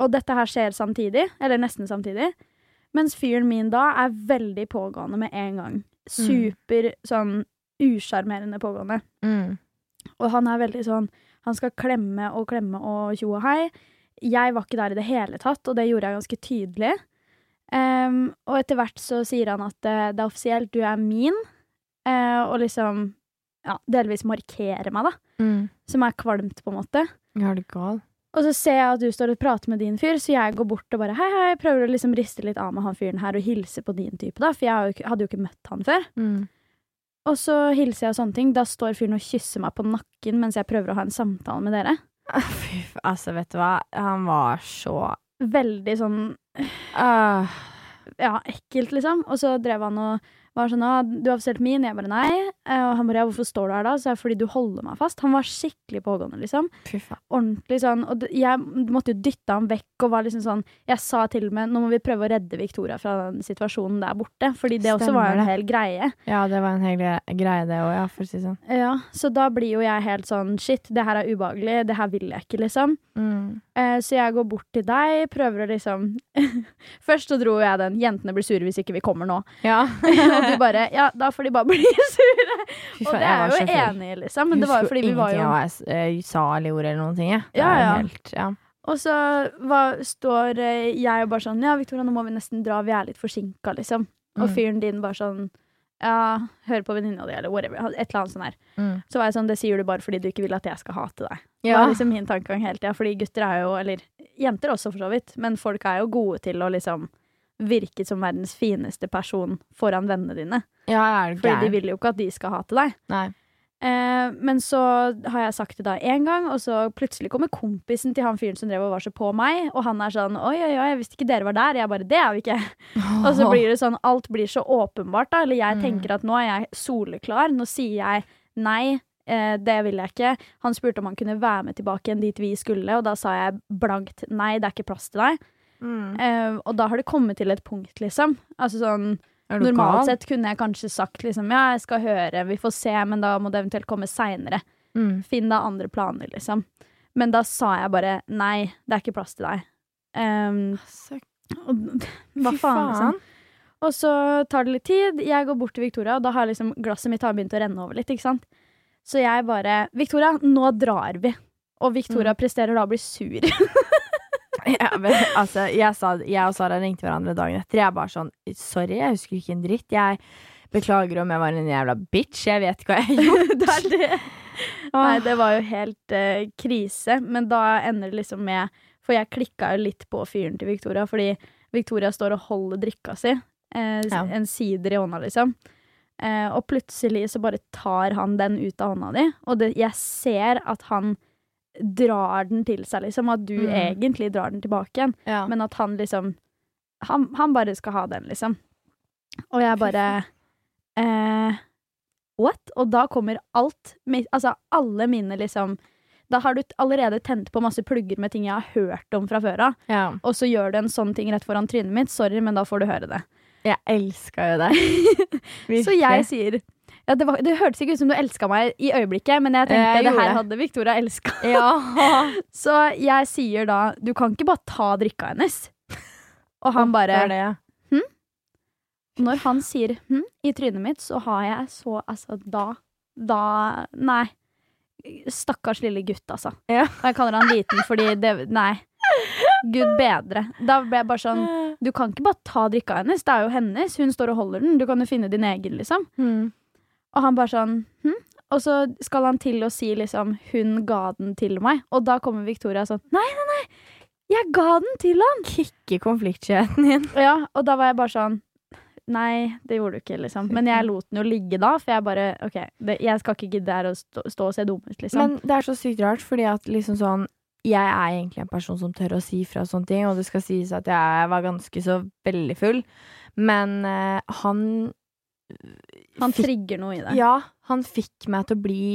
[SPEAKER 3] Og dette her skjer samtidig, eller nesten samtidig. Mens fyren min da er veldig pågående med en gang. Super sånn usjarmerende pågående.
[SPEAKER 2] Mm.
[SPEAKER 3] Og han er veldig sånn Han skal klemme og klemme og tjo og hei. Jeg var ikke der i det hele tatt, og det gjorde jeg ganske tydelig. Ehm, og etter hvert så sier han at eh, det er offisielt, du er min. Eh, og liksom ja, delvis markere meg, da. Som er kvalmt, på en måte.
[SPEAKER 2] Jeg er Mm. du gal?
[SPEAKER 3] Og så ser jeg at du står og prater med din fyr, så jeg går bort og bare hei, hei, prøver å liksom riste litt av med han fyren her og hilse på din type, da, for jeg har jo ikke- hadde jo ikke møtt han før. Og så hilser jeg og sånne ting. Da står fyren og kysser meg på nakken mens jeg prøver å ha en samtale med dere.
[SPEAKER 2] Fy, f- altså, vet du hva? Han var så
[SPEAKER 3] Veldig sånn
[SPEAKER 2] Ah,
[SPEAKER 3] ja, ekkelt, liksom. Og så drev han og var sånn «Ah, 'Du har offisielt min.' Jeg bare 'nei'. Eh, Og han bare 'ja, hvorfor står du her da?' Så jeg, 'fordi du holder meg fast'. Han var skikkelig pågående, liksom.
[SPEAKER 2] Fy faen.
[SPEAKER 3] ordentlig sånn Og d- jeg måtte jo dytte ham vekk og var liksom sånn Jeg sa til og med nå må vi prøve å redde Victoria fra den situasjonen der borte, fordi det også
[SPEAKER 2] Stemmer
[SPEAKER 3] var jo
[SPEAKER 2] det.
[SPEAKER 3] en hel greie.
[SPEAKER 2] Ja, det var en hel gre- greie, det òg, ja, for å si det sånn.
[SPEAKER 3] Ja, så da blir jo jeg helt sånn shit, det her er ubehagelig, det her vil jeg ikke, liksom. Eh, så jeg går bort til deg, prøver å liksom Først så dro jeg den 'jentene blir sure hvis ikke vi kommer nå',
[SPEAKER 2] Ja.
[SPEAKER 3] og du bare 'ja, da får de bare bli sure'.
[SPEAKER 2] Fy
[SPEAKER 3] Og
[SPEAKER 2] faen,
[SPEAKER 3] det
[SPEAKER 2] jeg
[SPEAKER 3] er
[SPEAKER 2] var
[SPEAKER 3] jo
[SPEAKER 2] så full.
[SPEAKER 3] enig i, liksom, men det var jo fordi vi var jo
[SPEAKER 2] Jeg husker ingenting av hva jeg s- eh, sa eller gjorde eller noen ting, jeg. Det
[SPEAKER 3] Ja,
[SPEAKER 2] er
[SPEAKER 3] ja.
[SPEAKER 2] Helt, ja.
[SPEAKER 3] Og så var, står eh, jeg og bare sånn Ja, Victoria, nå må vi nesten dra, vi er litt forsinka, liksom. Og
[SPEAKER 2] Mm.
[SPEAKER 3] fyren din bare sånn Ja, hør på venninna di, eller whatever. Et eller annet sånn her.
[SPEAKER 2] Mm.
[SPEAKER 3] Så var jeg sånn Det sier du bare fordi du ikke vil at jeg skal hate deg. Det
[SPEAKER 2] Ja.
[SPEAKER 3] var liksom min tankegang hele tida. Fordi gutter er jo Eller jenter også, for så vidt. Men folk er jo gode til å liksom virke som verdens fineste person foran vennene dine.
[SPEAKER 2] ja, er du
[SPEAKER 3] Fordi de
[SPEAKER 2] gæren?
[SPEAKER 3] vil jo ikke at de skal hate deg.
[SPEAKER 2] Nei.
[SPEAKER 3] Eh, men så har jeg sagt det da én gang, og så plutselig kommer kompisen til han fyren som drev og var så på meg, og han er sånn Oi, oi, oi, jeg visste ikke dere var der. Jeg bare Det er vi ikke. Og så blir det sånn Alt blir så åpenbart, da. Eller jeg
[SPEAKER 2] Mm.
[SPEAKER 3] tenker at nå er jeg soleklar. Nå sier jeg nei. Eh, det vil jeg ikke. Han spurte om han kunne være med tilbake igjen dit vi skulle, og da sa jeg blankt nei, det er ikke plass til deg.
[SPEAKER 2] Mm.
[SPEAKER 3] Eh, og da har det kommet til et punkt, liksom. Altså sånn
[SPEAKER 2] Er du gal?
[SPEAKER 3] Normalt sett kunne jeg kanskje sagt liksom, ja, jeg skal høre, vi får se, men da må det eventuelt komme seinere.
[SPEAKER 2] Mm.
[SPEAKER 3] Finn da andre planer, liksom. Men da sa jeg bare nei, det er ikke plass til deg. Ehm,
[SPEAKER 2] Så-
[SPEAKER 3] og, hva
[SPEAKER 2] Fy
[SPEAKER 3] faen, liksom. Og så tar det litt tid, jeg går bort til Victoria, og da har liksom glasset mitt har begynt å renne over litt, ikke sant. Så jeg bare Victoria, nå drar vi. Og Victoria presterer da å bli sur.
[SPEAKER 2] Ja, men, altså, jeg, sa, jeg og Sara ringte hverandre dagen etter. Jeg bare sånn Sorry, jeg husker ikke en dritt. Jeg beklager om jeg var en jævla bitch. Jeg vet ikke hva jeg gjorde.
[SPEAKER 3] det er det. Nei, det var jo helt eh, krise. Men da ender det liksom med For jeg klikka jo litt på fyren til Victoria, fordi Victoria står og holder drikka si. eh, s-
[SPEAKER 2] Ja.
[SPEAKER 3] En sider i hånda, liksom. Eh, og plutselig så bare tar han den ut av hånda di, og det, jeg ser at han drar den til seg, liksom. At du
[SPEAKER 2] Mm.
[SPEAKER 3] egentlig drar den tilbake igjen,
[SPEAKER 2] Ja.
[SPEAKER 3] men at han liksom han, han bare skal ha den, liksom. Og jeg bare eh, What? Og da kommer alt mi- Altså alle mine, liksom Da har du t- allerede tent på masse plugger med ting jeg har hørt om fra før av,
[SPEAKER 2] ja.
[SPEAKER 3] og så gjør du en sånn ting rett foran trynet mitt. Sorry, men da får du høre det.
[SPEAKER 2] Jeg elska jo deg.
[SPEAKER 3] Så jeg sier ja, det, var, det hørtes ikke ut som du elska meg i øyeblikket, men jeg tenkte
[SPEAKER 2] Jeg
[SPEAKER 3] det
[SPEAKER 2] gjorde
[SPEAKER 3] her
[SPEAKER 2] det.
[SPEAKER 3] hadde Victoria elska.
[SPEAKER 2] Ja.
[SPEAKER 3] Så jeg sier da Du kan ikke bare ta drikka hennes. Og han
[SPEAKER 2] Det
[SPEAKER 3] bare
[SPEAKER 2] er det, ja.
[SPEAKER 3] Når han sier hm, i trynet mitt, så har jeg så Altså, da Da Nei. Stakkars lille gutt, altså.
[SPEAKER 2] Ja.
[SPEAKER 3] Og jeg kaller han liten fordi det Nei. Gud bedre. Da ble jeg bare sånn Du kan ikke bare ta drikka hennes. Det er jo hennes. Hun står og holder den. Du kan jo finne din egen, liksom.
[SPEAKER 2] Mm.
[SPEAKER 3] Og han bare sånn hm? Og så skal han til å si liksom Hun ga den til meg. Og da kommer Victoria sånn Nei, nei, nei. Jeg ga den til han.
[SPEAKER 2] Ikke konfliktskyheten din.
[SPEAKER 3] Ja, og da var jeg bare sånn Nei, det gjorde du ikke, liksom. Men jeg lot den jo ligge da, for jeg bare OK, det, jeg skal ikke gidde her å stå, stå og se dum ut, liksom.
[SPEAKER 2] Men det er så sykt rart, fordi at liksom sånn Jeg er egentlig en person som tør å si fra og sånne ting, og det skal sies at jeg var ganske så veldig full, men eh, han
[SPEAKER 3] han trigger noe i det.
[SPEAKER 2] Ja, han fikk meg til å bli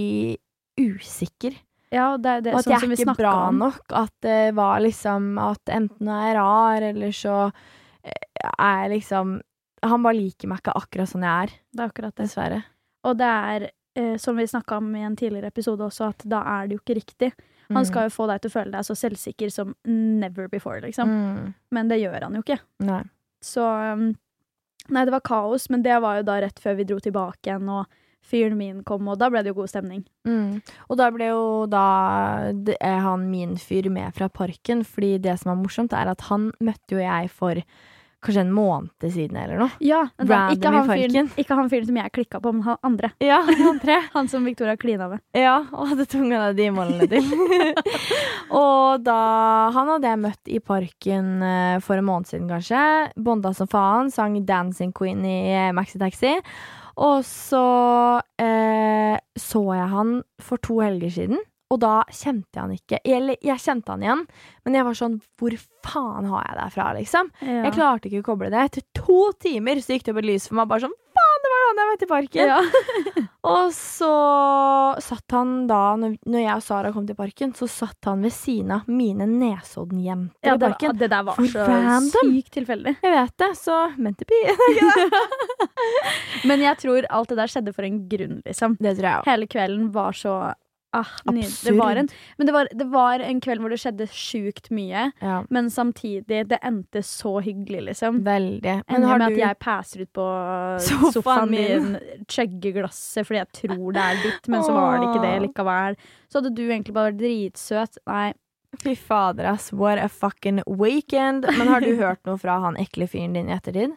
[SPEAKER 2] usikker.
[SPEAKER 3] Ja, det, er
[SPEAKER 2] Og
[SPEAKER 3] det,
[SPEAKER 2] at
[SPEAKER 3] sånn
[SPEAKER 2] jeg
[SPEAKER 3] som
[SPEAKER 2] er
[SPEAKER 3] vi
[SPEAKER 2] ikke
[SPEAKER 3] snakket
[SPEAKER 2] bra
[SPEAKER 3] om.
[SPEAKER 2] nok. At det var liksom At enten er jeg rar, eller så eh, er jeg liksom Han bare liker meg ikke akkurat sånn jeg er,
[SPEAKER 3] Det er akkurat det.
[SPEAKER 2] dessverre.
[SPEAKER 3] Og det er, eh, som vi snakka om i en tidligere episode også, at da er det jo ikke riktig.
[SPEAKER 2] Mm.
[SPEAKER 3] Han skal jo få deg til å føle deg så selvsikker som never before, liksom.
[SPEAKER 2] Mm.
[SPEAKER 3] Men det gjør han jo ikke.
[SPEAKER 2] Nei.
[SPEAKER 3] Så um, Nei, det var kaos, men det var jo da rett før vi dro tilbake igjen, og fyren min kom, og da ble det jo god stemning.
[SPEAKER 2] Mm. Og da ble jo da det er han min fyr med fra parken, fordi det som er morsomt, er at han møtte jo jeg for kanskje en måned siden eller noe.
[SPEAKER 3] Ja, men da,
[SPEAKER 2] Random
[SPEAKER 3] ikke,
[SPEAKER 2] i
[SPEAKER 3] han fyren,
[SPEAKER 2] parken.
[SPEAKER 3] ikke han fyren som jeg klikka på, men han andre.
[SPEAKER 2] Ja, han tre.
[SPEAKER 3] Han som Victoria klina med.
[SPEAKER 2] Ja, og hadde tunga ned i målene til. og da Han hadde jeg møtt i parken eh, for en måned siden, kanskje. Bonda som faen, sang 'Dancing Queen' i eh, Maxi Taxi. Og så eh, så jeg han for to helger siden, og da kjente jeg han ikke. Eller jeg kjente han igjen, men jeg var sånn Hvor faen har jeg deg fra, liksom? Jeg klarte ikke å koble det. Etter to timer så gikk det opp et lys for meg, bare sånn Faen, det var jo han jeg møtte i parken!
[SPEAKER 3] ja.
[SPEAKER 2] Og så satt han da, når når jeg og Sara kom til parken, så satt han ved siden av mine Nesodden-jenter
[SPEAKER 3] ja,
[SPEAKER 2] i
[SPEAKER 3] det,
[SPEAKER 2] parken.
[SPEAKER 3] det der var
[SPEAKER 2] Hvor
[SPEAKER 3] så
[SPEAKER 2] random.
[SPEAKER 3] sykt tilfeldig.
[SPEAKER 2] Jeg vet det, så meant to be.
[SPEAKER 3] Men jeg tror alt det der skjedde for en grunn, liksom.
[SPEAKER 2] Det tror jeg òg.
[SPEAKER 3] Hele kvelden var så ah, nydelig. Det
[SPEAKER 2] Absurd.
[SPEAKER 3] var en, men det var, det var en kveld hvor det skjedde sjukt mye,
[SPEAKER 2] Ja,
[SPEAKER 3] men samtidig, det endte så hyggelig, liksom.
[SPEAKER 2] veldig.
[SPEAKER 3] Ender
[SPEAKER 2] Men har
[SPEAKER 3] med
[SPEAKER 2] du
[SPEAKER 3] at jeg passer ut på
[SPEAKER 2] Sofaen
[SPEAKER 3] sofaen, min, chugger glasset fordi jeg tror det er ditt, men så var det ikke det
[SPEAKER 2] Åh.
[SPEAKER 3] likevel. Så hadde du egentlig bare vært dritsøt. Nei.
[SPEAKER 2] Fy fader, ass. What a fucking weekend. Men har du hørt noe fra han ekle fyren din i ettertid?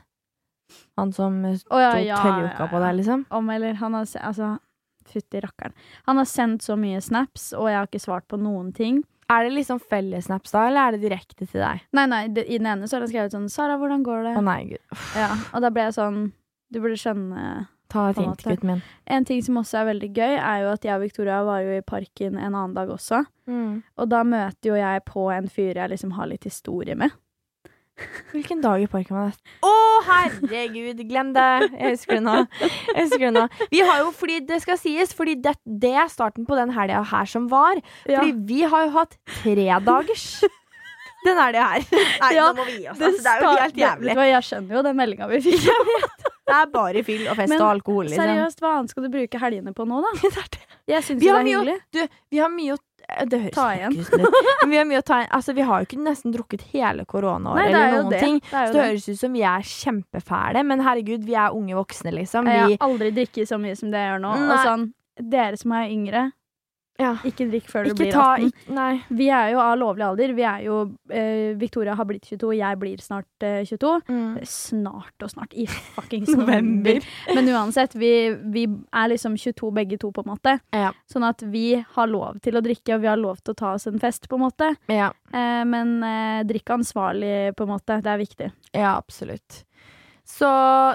[SPEAKER 2] Han som sto
[SPEAKER 3] Å ja, ja,
[SPEAKER 2] tørruka på
[SPEAKER 3] ja,
[SPEAKER 2] deg, liksom?
[SPEAKER 3] Om eller han har se- Altså, fytti rakkeren. Han har sendt så mye snaps, og jeg har ikke svart på noen ting.
[SPEAKER 2] Er det liksom fellesnaps da, eller er det direkte til deg?
[SPEAKER 3] Nei, nei, det, i den ene så har han skrevet sånn 'Sara, hvordan går
[SPEAKER 2] Å
[SPEAKER 3] det?'
[SPEAKER 2] nei, gud.
[SPEAKER 3] Ja, og da ble jeg sånn Du burde skjønne
[SPEAKER 2] Ta et
[SPEAKER 3] På en
[SPEAKER 2] hint,
[SPEAKER 3] måte.
[SPEAKER 2] gutten min.
[SPEAKER 3] En ting som også er veldig gøy, er jo at jeg og Victoria var jo i parken en annen dag også.
[SPEAKER 2] Mm.
[SPEAKER 3] Og da møter jo jeg på en fyr jeg liksom har litt historie med.
[SPEAKER 2] Hvilken dag i parken var det? Å, herregud, glem det! Jeg husker det nå. Jeg husker det nå. Vi har jo, fordi det skal sies, fordi det, det er starten på den helga her som var. Fordi vi har jo hatt tredagers den helga her. Nei,
[SPEAKER 3] Ja,
[SPEAKER 2] nå må vi gi oss.
[SPEAKER 3] Det
[SPEAKER 2] Altså, det er jo
[SPEAKER 3] sta-
[SPEAKER 2] helt
[SPEAKER 3] Vet
[SPEAKER 2] jævlig.
[SPEAKER 3] du hva, jeg skjønner jo den meldinga vi fikk.
[SPEAKER 2] Det er bare fyll og fest
[SPEAKER 3] Men
[SPEAKER 2] og alkohol, liksom.
[SPEAKER 3] Seriøst, hva annet skal du bruke helgene på nå, da?
[SPEAKER 2] Det er det.
[SPEAKER 3] Jeg syns
[SPEAKER 2] Vi
[SPEAKER 3] jo det
[SPEAKER 2] har
[SPEAKER 3] er
[SPEAKER 2] mye å-
[SPEAKER 3] hyggelig.
[SPEAKER 2] Du, vi har mye å det høres
[SPEAKER 3] Ta
[SPEAKER 2] faktisk ut. Men vi har mye å ta igjen. Altså, vi har jo ikke nesten drukket hele koronaåret
[SPEAKER 3] det er
[SPEAKER 2] eller
[SPEAKER 3] jo
[SPEAKER 2] noen
[SPEAKER 3] det.
[SPEAKER 2] ting.
[SPEAKER 3] det, er
[SPEAKER 2] Så
[SPEAKER 3] jo
[SPEAKER 2] det
[SPEAKER 3] det.
[SPEAKER 2] høres ut som vi er kjempefæle, men herregud, vi er unge voksne, liksom.
[SPEAKER 3] Jeg
[SPEAKER 2] Vi
[SPEAKER 3] har aldri drukket så mye som det jeg gjør nå. Og
[SPEAKER 2] Nei.
[SPEAKER 3] sånn, dere som er yngre,
[SPEAKER 2] Ja.
[SPEAKER 3] ikke drikk før du
[SPEAKER 2] Ikke
[SPEAKER 3] blir
[SPEAKER 2] ta
[SPEAKER 3] 18.
[SPEAKER 2] ikk- Nei.
[SPEAKER 3] Vi er jo av lovlig alder. Vi er jo, eh, Victoria har blitt 22, jeg blir snart eh, 22.
[SPEAKER 2] Mm.
[SPEAKER 3] Snart og snart. I fuckings november. Men uansett, vi, vi er liksom 22 begge to, på en måte.
[SPEAKER 2] Ja.
[SPEAKER 3] Sånn at vi har lov til å drikke, og vi har lov til å ta oss en fest, på en måte.
[SPEAKER 2] Ja,
[SPEAKER 3] Eh, men eh, drikke ansvarlig, på en måte. Det er viktig.
[SPEAKER 2] ja absolutt. Så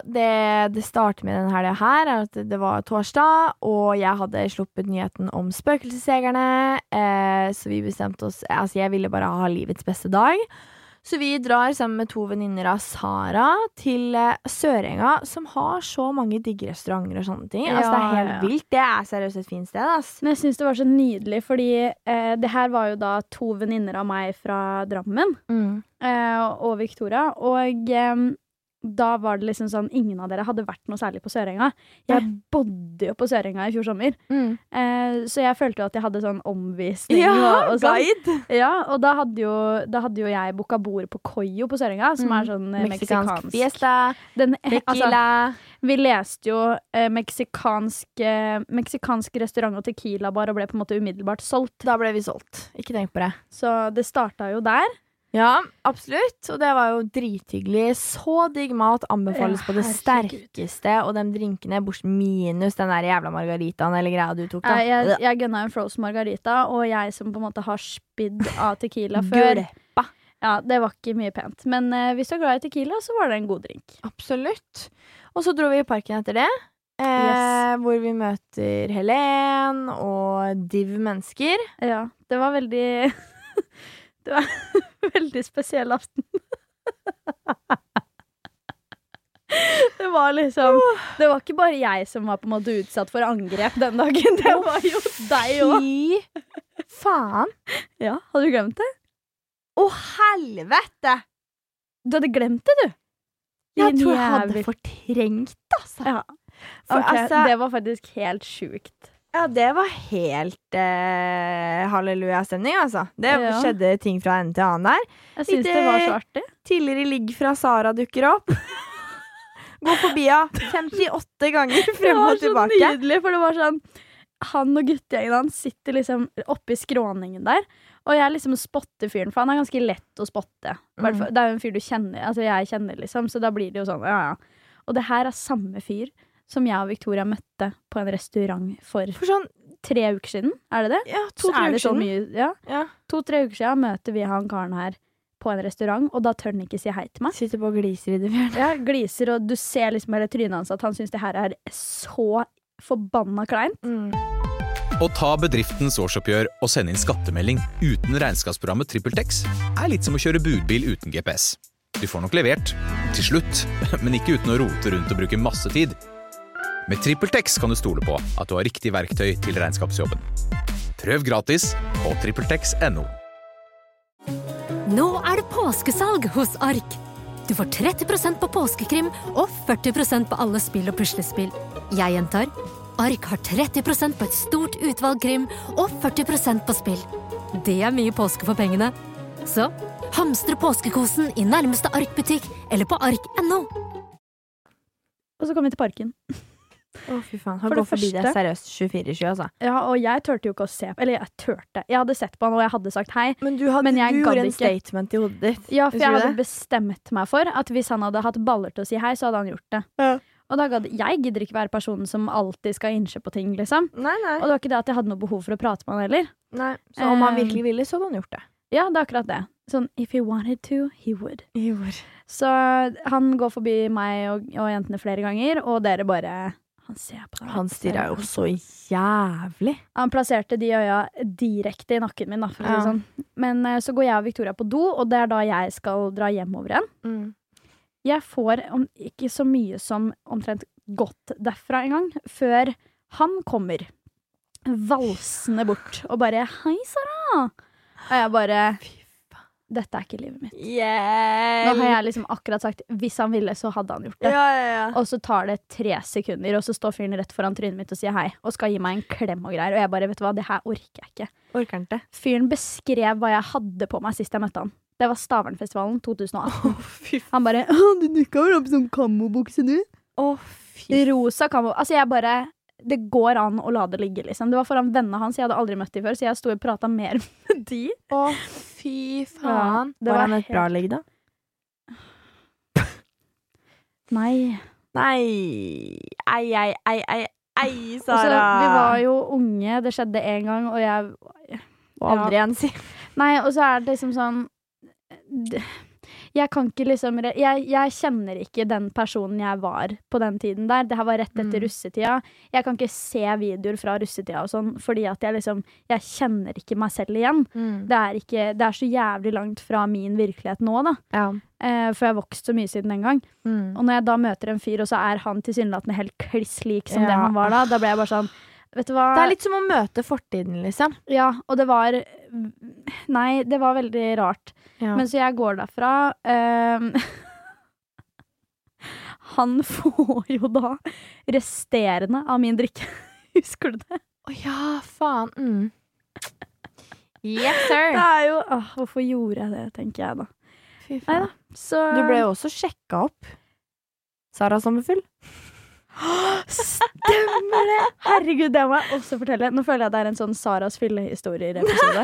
[SPEAKER 2] det det starter med denne helga her, er at det var torsdag, og jeg hadde sluppet nyheten om Spøkelsesjegerne, eh, så vi bestemte oss Altså, jeg ville bare ha livets beste dag. Så vi drar sammen med to venninner av Sara til eh, Sørenga, som har så mange digge restauranter og sånne ting. altså, det
[SPEAKER 3] Ja,
[SPEAKER 2] er helt
[SPEAKER 3] ja.
[SPEAKER 2] vilt. Det er seriøst et fint sted, ass.
[SPEAKER 3] Men jeg syns det var så nydelig, fordi eh, det her var jo da to venninner av meg fra Drammen
[SPEAKER 2] Mm.
[SPEAKER 3] eh, og Victoria. Og eh, da var det liksom sånn Ingen av dere hadde vært noe særlig på Sørenga. Jeg bodde jo på Sørenga i fjor sommer,
[SPEAKER 2] Mm.
[SPEAKER 3] eh, så jeg følte jo at jeg hadde sånn omvisning og,
[SPEAKER 2] Ja,
[SPEAKER 3] og sånn.
[SPEAKER 2] guide!
[SPEAKER 3] Ja, og da hadde jo, da hadde jo jeg booka bord på Coyo på Sørenga, som
[SPEAKER 2] Mm.
[SPEAKER 3] er sånn eh,
[SPEAKER 2] Meksikansk
[SPEAKER 3] meksikansk.
[SPEAKER 2] fiesta,
[SPEAKER 3] Den, eh, altså,
[SPEAKER 2] tequila
[SPEAKER 3] vi leste jo eh, meksikansk, eh, meksikansk restaurant og tequilabar og ble på en måte umiddelbart solgt.
[SPEAKER 2] Da ble vi solgt. Ikke tenk på det.
[SPEAKER 3] Så det starta jo der.
[SPEAKER 2] Ja, absolutt. Og det var jo drithyggelig. Så digg mat anbefales
[SPEAKER 3] Ja,
[SPEAKER 2] på det
[SPEAKER 3] herregud.
[SPEAKER 2] sterkeste. Og de drinkene, bortsett minus den der jævla margaritaen eller greia du tok, da.
[SPEAKER 3] Eh, Jeg, jeg gunna en frozen margarita, og jeg som på en måte har spydd av tequila før.
[SPEAKER 2] Gulpa.
[SPEAKER 3] Ja, det var ikke mye pent. Men eh, hvis du er glad i Tequila, så var det en god drink.
[SPEAKER 2] Absolutt. Og så dro vi i parken etter det. Eh,
[SPEAKER 3] Yes.
[SPEAKER 2] Hvor vi møter Helen og div mennesker.
[SPEAKER 3] Ja, det var veldig Det var en veldig spesiell aften. Det var liksom Det var ikke bare jeg som var på en måte utsatt for angrep den dagen. Det var jo deg òg.
[SPEAKER 2] Fy faen!
[SPEAKER 3] Ja, hadde du glemt det?
[SPEAKER 2] Å, helvete!
[SPEAKER 3] Du hadde glemt det, du.
[SPEAKER 2] Jeg
[SPEAKER 3] Din
[SPEAKER 2] tror jeg hadde
[SPEAKER 3] jævel.
[SPEAKER 2] fortrengt, altså.
[SPEAKER 3] Ja.
[SPEAKER 2] For
[SPEAKER 3] Ok,
[SPEAKER 2] altså det,
[SPEAKER 3] Det var faktisk helt sjukt.
[SPEAKER 2] Ja, det var helt eh, halleluja-stemning, altså. Det
[SPEAKER 3] Ja.
[SPEAKER 2] skjedde ting fra ende til annen der.
[SPEAKER 3] Jeg syns det var så artig.
[SPEAKER 2] Tidligere ligg fra Sara dukker opp. Gå forbi henne 58 ganger
[SPEAKER 3] Det
[SPEAKER 2] frem
[SPEAKER 3] var
[SPEAKER 2] og
[SPEAKER 3] så
[SPEAKER 2] tilbake.
[SPEAKER 3] nydelig, for det var sånn Han og guttegjengen hans sitter liksom oppi skråningen der, og jeg liksom spotter fyren, for han er ganske lett å spotte. Hvert fall- Det er jo en fyr du kjenner, altså jeg kjenner, liksom, så da blir det jo sånn, ja ja. Og det her er samme fyr som jeg og Victoria møtte på en restaurant for
[SPEAKER 2] For sånn
[SPEAKER 3] tre uker siden, er det det?
[SPEAKER 2] ja, to
[SPEAKER 3] Så er
[SPEAKER 2] uker
[SPEAKER 3] det så
[SPEAKER 2] siden.
[SPEAKER 3] mye- Ja.
[SPEAKER 2] Ja.
[SPEAKER 3] To-tre uker siden møter vi han karen her på en restaurant, og da tør han ikke si hei til meg.
[SPEAKER 2] Sitter på og gliser i det fjerne.
[SPEAKER 3] Ja, gliser, og du ser liksom hele trynet hans at han syns det her er så forbanna kleint.
[SPEAKER 4] Å ta bedriftens årsoppgjør og sende inn skattemelding uten regnskapsprogrammet TrippelTex er litt som å kjøre budbil uten GPS. Du får nok levert, til slutt, men ikke uten å rote rundt og bruke masse tid. Med TrippelTex kan du stole på at du har riktig verktøy til regnskapsjobben. Prøv gratis på TrippelTex.no.
[SPEAKER 5] Nå er det påskesalg hos Ark. Du får 30 på påskekrim og 40 på alle spill og puslespill. Jeg gjentar Ark har 30 på et stort utvalg krim og 40 på spill. Det er mye påske for pengene. Så hamstre påskekosen i nærmeste Ark-butikk eller på ark.no.
[SPEAKER 3] Og så kom vi til parken.
[SPEAKER 2] Å, fy faen. Han
[SPEAKER 3] For det
[SPEAKER 2] går forbi deg
[SPEAKER 3] første-
[SPEAKER 2] seriøst 24-7, altså.
[SPEAKER 3] Ja, og jeg turte jo ikke å se på Eller jeg turte. Jeg hadde sett på han, og jeg hadde sagt hei.
[SPEAKER 2] Men du,
[SPEAKER 3] Men jeg gadd
[SPEAKER 2] gjorde en
[SPEAKER 3] ikke.
[SPEAKER 2] statement i hodet ditt.
[SPEAKER 3] Ja, for jeg
[SPEAKER 2] Husker du
[SPEAKER 3] hadde
[SPEAKER 2] det?
[SPEAKER 3] bestemt meg for at hvis han hadde hatt baller til å si hei, så hadde han gjort det.
[SPEAKER 2] Ja.
[SPEAKER 3] Og da gadd Jeg gidder ikke være personen som alltid skal innse på ting, liksom.
[SPEAKER 2] Nei, nei.
[SPEAKER 3] Og det var ikke det at jeg hadde noe behov for å prate med han heller.
[SPEAKER 2] nei. Så om han
[SPEAKER 3] Eh,
[SPEAKER 2] virkelig ville, så hadde han gjort det.
[SPEAKER 3] Ja, det er akkurat det. Sånn if he wanted to, he would.
[SPEAKER 2] Gjorde.
[SPEAKER 3] Så han går forbi meg og, og jentene flere ganger, og dere bare Han ser på deg.
[SPEAKER 2] Han stirra jo så jævlig.
[SPEAKER 3] Han plasserte de øya direkte i nakken min. Da, for å si det
[SPEAKER 2] Ja.
[SPEAKER 3] sånn. Men eh, så går jeg og Victoria på do, og det er da jeg skal dra hjemover igjen.
[SPEAKER 2] Mm.
[SPEAKER 3] Jeg får om, ikke så mye som omtrent godt derfra engang, før han kommer valsende bort og bare 'Hei, Sara'. Og jeg bare Dette er ikke livet mitt. Nå har jeg liksom akkurat sagt hvis han ville, så hadde han gjort det.
[SPEAKER 2] Ja, ja, ja.
[SPEAKER 3] Og så tar det tre sekunder, og så står fyren rett foran trynet mitt og sier hei. Og skal gi meg en klem og greier. Og jeg bare, vet du hva, det her orker jeg ikke.
[SPEAKER 2] Orker han ikke.
[SPEAKER 3] Fyren beskrev hva jeg hadde på meg sist jeg møtte han. Det var Stavernfestivalen 2018. Han bare «Å, 'Du dukka vel opp som kammobukse, du?'
[SPEAKER 2] Å, fy
[SPEAKER 3] Rosa kammo... Altså, jeg bare Det går an å la det ligge, liksom. Det var foran vennene hans, jeg hadde aldri møtt dem før, så jeg sto og prata mer med de.
[SPEAKER 2] Å, fy faen.
[SPEAKER 3] det
[SPEAKER 2] var,
[SPEAKER 3] var
[SPEAKER 2] han et
[SPEAKER 3] helt-
[SPEAKER 2] bra ligg, da?
[SPEAKER 3] Nei.
[SPEAKER 2] Nei. Ei, ei, ei, ei, ei,
[SPEAKER 3] Altså,
[SPEAKER 2] Sara.
[SPEAKER 3] vi var jo unge, det skjedde én gang, og jeg
[SPEAKER 2] Og aldri igjen, si.
[SPEAKER 3] Nei, og så er det liksom sånn d- Jeg kan ikke liksom re- jeg, jeg kjenner ikke den personen jeg var på den tiden der. Det her var rett etter
[SPEAKER 2] Mm.
[SPEAKER 3] russetida. Jeg kan ikke se videoer fra russetida og sånn, fordi at jeg liksom Jeg kjenner ikke meg selv igjen.
[SPEAKER 2] Mm.
[SPEAKER 3] Det er, ikke, det er så jævlig langt fra min virkelighet nå, da.
[SPEAKER 2] Ja.
[SPEAKER 3] Eh, for jeg har vokst så mye siden den gang.
[SPEAKER 2] Mm.
[SPEAKER 3] Og når jeg da møter en fyr, og så er han tilsynelatende helt kliss lik som det
[SPEAKER 2] Ja.
[SPEAKER 3] han var da, da ble jeg bare sånn Vet du hva?
[SPEAKER 2] Det er litt som å møte fortiden, liksom.
[SPEAKER 3] Ja, og det var Nei, det var veldig rart.
[SPEAKER 2] Ja.
[SPEAKER 3] Men så jeg går derfra ehm, Han får jo da resterende av min drikke. Husker du det?
[SPEAKER 2] Å ja, faen. Mm. Yes,
[SPEAKER 3] Det
[SPEAKER 2] sir.
[SPEAKER 3] er jo åh, Hvorfor gjorde jeg det, tenker jeg da.
[SPEAKER 2] Fy
[SPEAKER 3] Nei
[SPEAKER 2] faen.
[SPEAKER 3] da. Så
[SPEAKER 2] Du ble jo også sjekka opp. Sara Sommerfugl.
[SPEAKER 3] Stemmer det! Herregud, det må jeg også fortelle. Nå føler jeg det er en sånn Saras fyllehistorier-episode.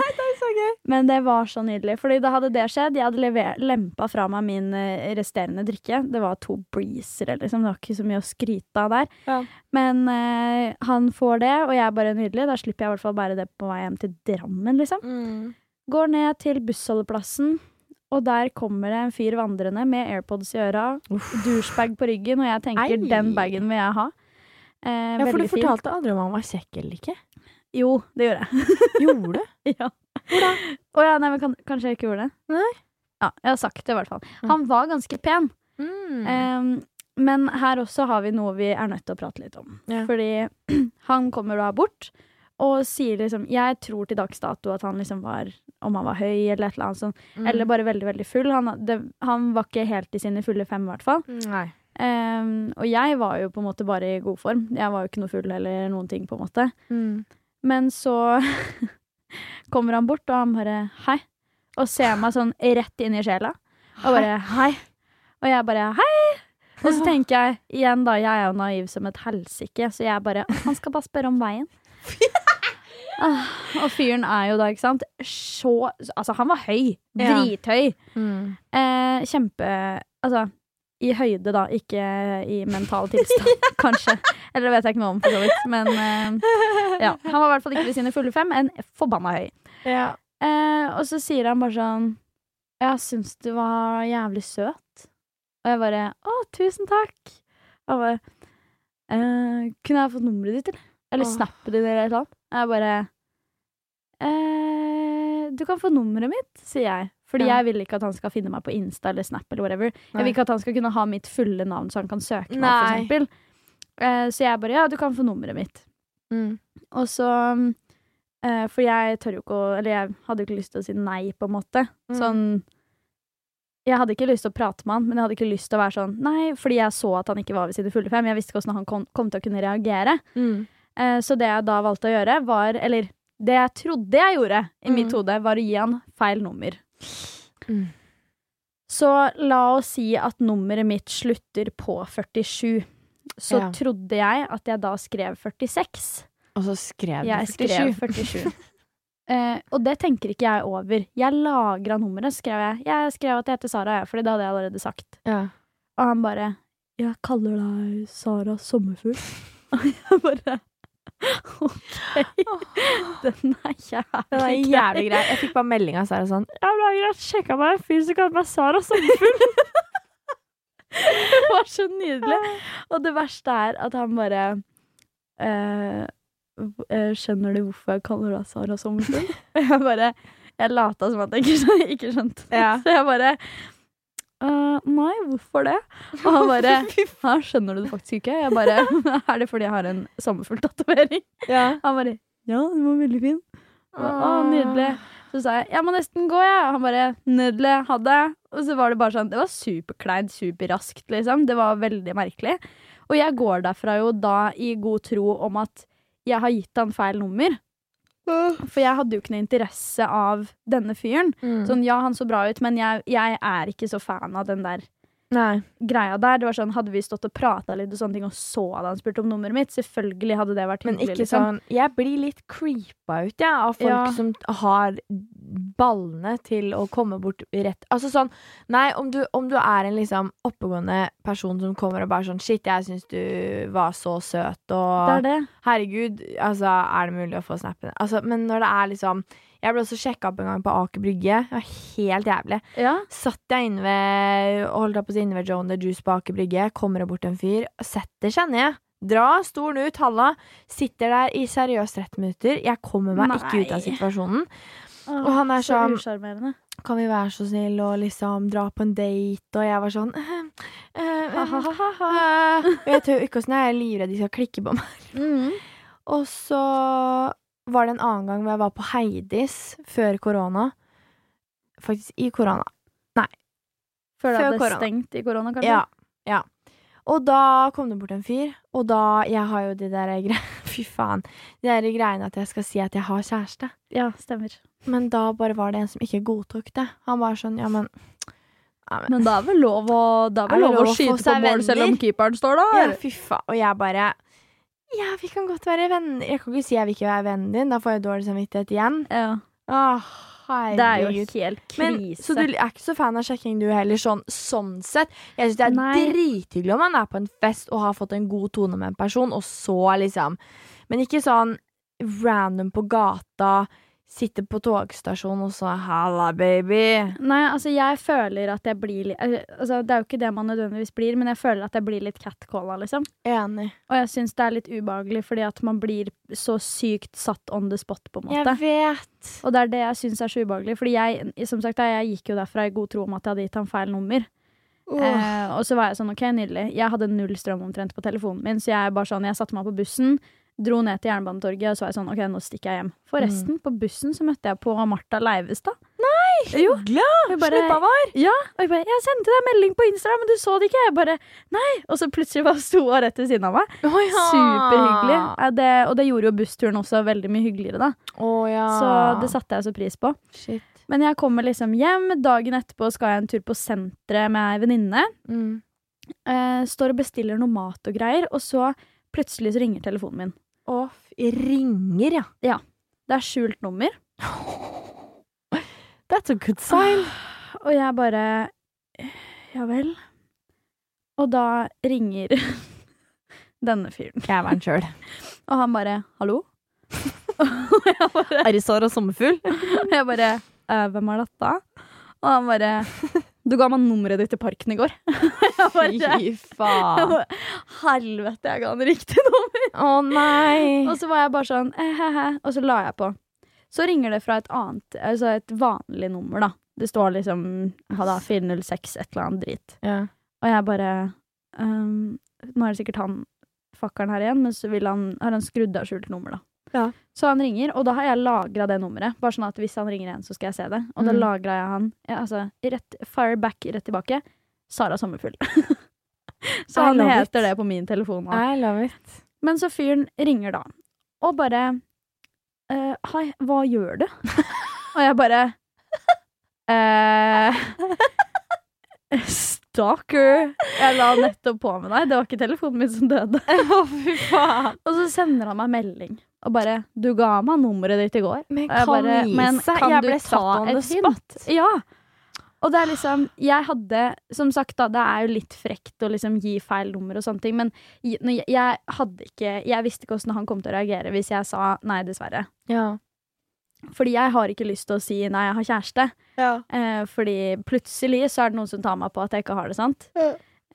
[SPEAKER 3] Men det var så nydelig. Fordi da hadde det skjedd. Jeg hadde lever- lempa fra meg min eh, resterende drikke. Det var to breezere, liksom. Det var ikke så mye å skryte av der.
[SPEAKER 2] Ja.
[SPEAKER 3] Men eh, han får det, og jeg er bare nydelig. Da slipper jeg
[SPEAKER 2] Mm.
[SPEAKER 3] i hvert fall bære det på vei hjem til Drammen, liksom. Går ned til bussholdeplassen, og der kommer det en fyr vandrende med AirPods i øra, douchebag på ryggen, og jeg tenker
[SPEAKER 2] Ei.
[SPEAKER 3] den bagen vil jeg ha. Eh,
[SPEAKER 2] Ja, for du
[SPEAKER 3] veldig fin.
[SPEAKER 2] fortalte aldri om han var kjekk eller ikke.
[SPEAKER 3] Jo, det gjorde jeg.
[SPEAKER 2] Gjorde du?
[SPEAKER 3] ja. Å ja, nei, men kan, kanskje jeg ikke gjorde det?
[SPEAKER 2] Nei. Mm.
[SPEAKER 3] Ja, jeg har sagt det i hvert fall. Han var ganske pen, eh, men her også har vi noe vi er nødt til å prate litt om.
[SPEAKER 2] Ja.
[SPEAKER 3] Fordi han kommer da bort og sier liksom Jeg tror til dags dato at han liksom var Om han var høy eller et eller annet sånt.
[SPEAKER 2] Eh, Mm.
[SPEAKER 3] Eller bare veldig, veldig full. Han, det, han var ikke helt i sine fulle fem, i hvert fall.
[SPEAKER 2] Mm. Nei.
[SPEAKER 3] Ehm, og jeg var jo på en måte bare i god form. Jeg var jo ikke noe full eller noen ting, på en måte.
[SPEAKER 2] Mm.
[SPEAKER 3] Men så kommer han bort, og han bare hei. Og ser meg sånn rett inn i sjela. Og bare hei. Og jeg bare hei. Og så tenker jeg igjen, da, jeg er jo naiv som et helsike, så jeg bare Han skal bare spørre om veien. Ah, Og fyren er jo da, ikke sant, så Altså, han var høy.
[SPEAKER 2] Ja.
[SPEAKER 3] Drithøy.
[SPEAKER 2] Mm.
[SPEAKER 3] Eh, kjempe Altså, i høyde, da. Ikke i mental tilstand, kanskje. Eller det vet jeg ikke noe om, for så vidt. Men eh, ja. han var i hvert fall ikke ved sine fulle fem, en forbanna høy.
[SPEAKER 2] Ja.
[SPEAKER 3] Eh, og så sier han bare sånn Jeg syns du var jævlig søt. Og jeg bare Å, tusen takk. Han bare eh, Kunne jeg fått nummeret ditt, eller? Eller
[SPEAKER 2] Åh.
[SPEAKER 3] snappet ditt, eller et eller annet? Jeg bare eh, Du kan få nummeret mitt, sier jeg. Fordi
[SPEAKER 2] Ja.
[SPEAKER 3] jeg vil ikke at han skal finne meg på Insta eller Snap eller whatever.
[SPEAKER 2] Nei.
[SPEAKER 3] Jeg vil ikke at han skal kunne ha mitt fulle navn, så han kan søke meg, for
[SPEAKER 2] Nei.
[SPEAKER 3] eksempel. Eh, så jeg bare Ja, du kan få nummeret mitt.
[SPEAKER 2] Mm.
[SPEAKER 3] Og så eh, For jeg tør jo ikke å Eller jeg hadde jo ikke lyst til å si nei, på en måte.
[SPEAKER 2] Mm.
[SPEAKER 3] Sånn Jeg hadde ikke lyst til å prate med han, men jeg hadde ikke lyst til å være sånn Nei, fordi jeg så at han ikke var ved sine fulle fem. Jeg visste ikke hvordan han kom, kom til å kunne reagere.
[SPEAKER 2] Mm.
[SPEAKER 3] Eh, så det jeg da valgte å gjøre, var Eller det jeg trodde jeg gjorde i mitt
[SPEAKER 2] Mm.
[SPEAKER 3] hode, var å gi han feil nummer.
[SPEAKER 2] Mm.
[SPEAKER 3] Så la oss si at nummeret mitt slutter på 47. Så
[SPEAKER 2] Ja.
[SPEAKER 3] trodde jeg at jeg da skrev 46.
[SPEAKER 2] Og så skrev
[SPEAKER 3] Jeg
[SPEAKER 2] du
[SPEAKER 3] skrev 47. Eh, og det tenker ikke jeg over. Jeg lagra nummeret, skrev jeg. Jeg skrev at jeg heter Sara, jeg, fordi det hadde jeg allerede sagt.
[SPEAKER 2] Ja.
[SPEAKER 3] Og han bare 'Jeg kaller deg Sara Sommerfugl'. Og jeg bare OK, den er jævlig
[SPEAKER 2] Det var jævlig grei. Jeg fikk bare melding av Sara sånn Ja, det er greit, sjekka meg en fyr som kaller meg Sara Sommerfugl.
[SPEAKER 3] Det var så nydelig. Og det verste er at han bare eh, v- eh, Skjønner du hvorfor jeg kaller deg Sara Sommerfugl? Og jeg bare Jeg lata som at jeg ikke skjønte, ikke skjønte. det.
[SPEAKER 2] Ja.
[SPEAKER 3] Så jeg bare «Eh, Nei, hvorfor det? Og han bare Hæ, skjønner du det faktisk ikke? Jeg bare Er det fordi jeg har en sommerfugltatovering?
[SPEAKER 2] Ja.
[SPEAKER 3] Han bare Ja, den var veldig fin. Jeg bare, Å, nydelig. Så sa jeg jeg må nesten gå, jeg. Han bare nydelig, ha det. Og så var det bare sånn Det var superkleint, superraskt, liksom. Det var veldig merkelig. Og jeg går derfra jo da i god tro om at jeg har gitt han feil nummer. For jeg hadde jo ikke noe interesse av denne fyren.
[SPEAKER 2] Mm.
[SPEAKER 3] Sånn, ja, han så bra ut, men jeg, jeg er ikke så fan av den der
[SPEAKER 2] Nei.
[SPEAKER 3] greia der. Det var sånn, Hadde vi stått og prata litt og sånne ting, og så hadde han spurt om nummeret mitt, selvfølgelig hadde det vært
[SPEAKER 2] Men
[SPEAKER 3] hyggelig.
[SPEAKER 2] ikke
[SPEAKER 3] liksom.
[SPEAKER 2] sånn Jeg blir litt creepa ut, jeg, ja, av folk
[SPEAKER 3] Ja.
[SPEAKER 2] som har ballene til å komme bort rett Altså sånn Nei, om du, om du er en liksom oppegående person som kommer og bare sånn Shit, jeg syns du var så søt, og
[SPEAKER 3] Det er det.
[SPEAKER 2] Herregud, altså, er det mulig å få snappen? Altså, men når det er liksom Jeg ble også sjekka opp en gang på Aker Brygge. Det var helt jævlig.
[SPEAKER 3] Ja.
[SPEAKER 2] Satt jeg inne ved Holdt jeg på å si inne ved Joan the Juice på Aker Brygge. Kommer det bort en fyr. Setter seg ned. Dra stolen ut, halla. Sitter der i seriøst 30 minutter. Jeg kommer meg ikke ut av
[SPEAKER 3] Nei.
[SPEAKER 2] situasjonen. Og han er
[SPEAKER 3] så
[SPEAKER 2] sånn-
[SPEAKER 3] usjarmerende.
[SPEAKER 2] Kan vi være så snill og liksom dra på en date? Og jeg var sånn eh, eh, eh, eh. Og Jeg tør ikke åssen jeg er livredd de skal klikke på meg. Og så var det en annen gang hvor jeg var på Heidis før korona. Faktisk i korona.
[SPEAKER 3] Før det
[SPEAKER 2] Før
[SPEAKER 3] hadde
[SPEAKER 2] korona.
[SPEAKER 3] stengt i korona, kanskje?
[SPEAKER 2] Ja, ja. Og da kom det bort en fyr, og da Jeg har jo de der greiene Fy faen. De der greiene at jeg skal si at jeg har kjæreste.
[SPEAKER 3] Ja, stemmer.
[SPEAKER 2] Men da bare var det en som ikke godtok det. Han var sånn, ja, men ja, men-
[SPEAKER 3] Men det er vel lov å, det er vel lov å
[SPEAKER 2] få
[SPEAKER 3] skyte på
[SPEAKER 2] seg
[SPEAKER 3] mål selv om
[SPEAKER 2] venner?
[SPEAKER 3] keeperen står der?
[SPEAKER 2] Ja, fy faen. Og jeg bare Ja, vi kan godt være venner. Jeg kan ikke si jeg vil ikke være vennen din. Da får jeg dårlig samvittighet igjen.
[SPEAKER 3] Ja.
[SPEAKER 2] Åh,
[SPEAKER 3] Det er jo
[SPEAKER 2] herregud.
[SPEAKER 3] helt
[SPEAKER 2] Men,
[SPEAKER 3] krise.
[SPEAKER 2] så du er ikke så fan av sjekking du heller, sånn, sånn sett? Jeg syns det er
[SPEAKER 3] Nei.
[SPEAKER 2] drithyggelig om man er på en fest og har fått en god tone med en person, og så liksom Men ikke sånn random på gata, Sitter på togstasjonen og så 'halla, baby'.
[SPEAKER 3] Nei, altså jeg føler at jeg blir litt altså, Det er jo ikke det man nødvendigvis blir, men jeg føler at jeg blir litt catcalla, liksom.
[SPEAKER 2] Enig.
[SPEAKER 3] Og jeg syns det er litt ubehagelig, fordi at man blir så sykt satt on the spot, på en
[SPEAKER 2] Jeg
[SPEAKER 3] måte.
[SPEAKER 2] vet.
[SPEAKER 3] Og det er det jeg syns er så ubehagelig. Fordi jeg, som sagt, da, jeg gikk jo derfra i god tro om at jeg hadde gitt ham feil nummer. Eh, og så var jeg sånn, ok, nydelig. Jeg hadde null strøm omtrent på telefonen min, så jeg bare sånn, jeg satte meg på bussen, dro ned til Jernbanetorget, og så var jeg sånn, ok, nå stikker jeg hjem. Forresten, på bussen så møtte jeg på Martha Leivestad. Nei! Jo.
[SPEAKER 2] Hyggelig!
[SPEAKER 3] Og jeg bare,
[SPEAKER 2] Slippa var.
[SPEAKER 3] ja, og jeg bare, jeg sendte deg melding på Insta, men du så det ikke. Jeg bare, nei. Og så plutselig bare sto hun rett ved siden av meg.
[SPEAKER 2] Oh,
[SPEAKER 3] Superhyggelig. Ja, det, og det gjorde jo bussturen også veldig mye hyggeligere, da.
[SPEAKER 2] ja.
[SPEAKER 3] Så det satte jeg så pris på.
[SPEAKER 2] Shit.
[SPEAKER 3] Men jeg kommer liksom hjem. Dagen etterpå skal jeg en tur på senteret med ei venninne.
[SPEAKER 2] Mm.
[SPEAKER 3] Eh, står og bestiller noe mat og greier, og så plutselig så ringer telefonen min.
[SPEAKER 2] Og f- ringer, ja.
[SPEAKER 3] Det er skjult nummer,
[SPEAKER 2] That's a good sign.
[SPEAKER 3] og jeg bare Ja vel? Og da ringer denne fyren,
[SPEAKER 2] Kæveren sjøl.
[SPEAKER 3] og han bare 'hallo'? og jeg bare
[SPEAKER 2] Arrisar og sommerfugl.
[SPEAKER 3] Og jeg bare «Eh, Hvem er dette? Og han bare Du ga meg nummeret ditt i parken i går. jeg bare,
[SPEAKER 2] Fy
[SPEAKER 3] jeg
[SPEAKER 2] faen.
[SPEAKER 3] bare Helvete, jeg ga han riktig nummer!
[SPEAKER 2] Å nei.
[SPEAKER 3] Og så var jeg bare sånn eh, he, he. Og så la jeg på. Så ringer det fra et annet Altså et vanlig nummer, da. Det står liksom ha da, 406, et eller annet drit.
[SPEAKER 2] Ja.
[SPEAKER 3] Og jeg bare ehm, Nå er det sikkert han fakkeren her igjen, men så vil han, har han skrudd av skjult nummer, da.
[SPEAKER 2] Ja.
[SPEAKER 3] Så han ringer, og da har jeg lagra det nummeret. Bare sånn at hvis han ringer igjen, så skal jeg se det. Og da
[SPEAKER 2] Mm.
[SPEAKER 3] lagra jeg han ja, altså, rett, fire back rett tilbake. Sara Sommerfugl. så
[SPEAKER 2] I
[SPEAKER 3] han
[SPEAKER 2] love
[SPEAKER 3] heter
[SPEAKER 2] it.
[SPEAKER 3] det på min telefon. nå.
[SPEAKER 2] I love it.
[SPEAKER 3] Men så fyren ringer da, og bare eh, Hei, hva gjør du? og jeg bare eh, Stalker. Jeg la nettopp på med deg. Det var ikke telefonen min som døde.
[SPEAKER 2] Å, fy faen.
[SPEAKER 3] Og så sender han meg melding og bare 'Du ga meg nummeret ditt i går'.
[SPEAKER 2] Men
[SPEAKER 3] Og jeg
[SPEAKER 2] kan
[SPEAKER 3] bare,
[SPEAKER 2] gi
[SPEAKER 3] «Men
[SPEAKER 2] seg.
[SPEAKER 3] kan
[SPEAKER 2] Jeg
[SPEAKER 3] du
[SPEAKER 2] ble
[SPEAKER 3] ta
[SPEAKER 2] satt on
[SPEAKER 3] et
[SPEAKER 2] the spot.
[SPEAKER 3] Ja. Og det er liksom Jeg hadde Som sagt, da, det er jo litt frekt å liksom gi feil nummer og sånne ting, men i- når jeg, jeg hadde ikke Jeg visste ikke åssen han kom til å reagere hvis jeg sa nei, dessverre.
[SPEAKER 2] Ja.
[SPEAKER 3] Fordi jeg har ikke lyst til å si nei, jeg har kjæreste. Eh, fordi plutselig så er det noen som tar meg på at jeg ikke har det, sant?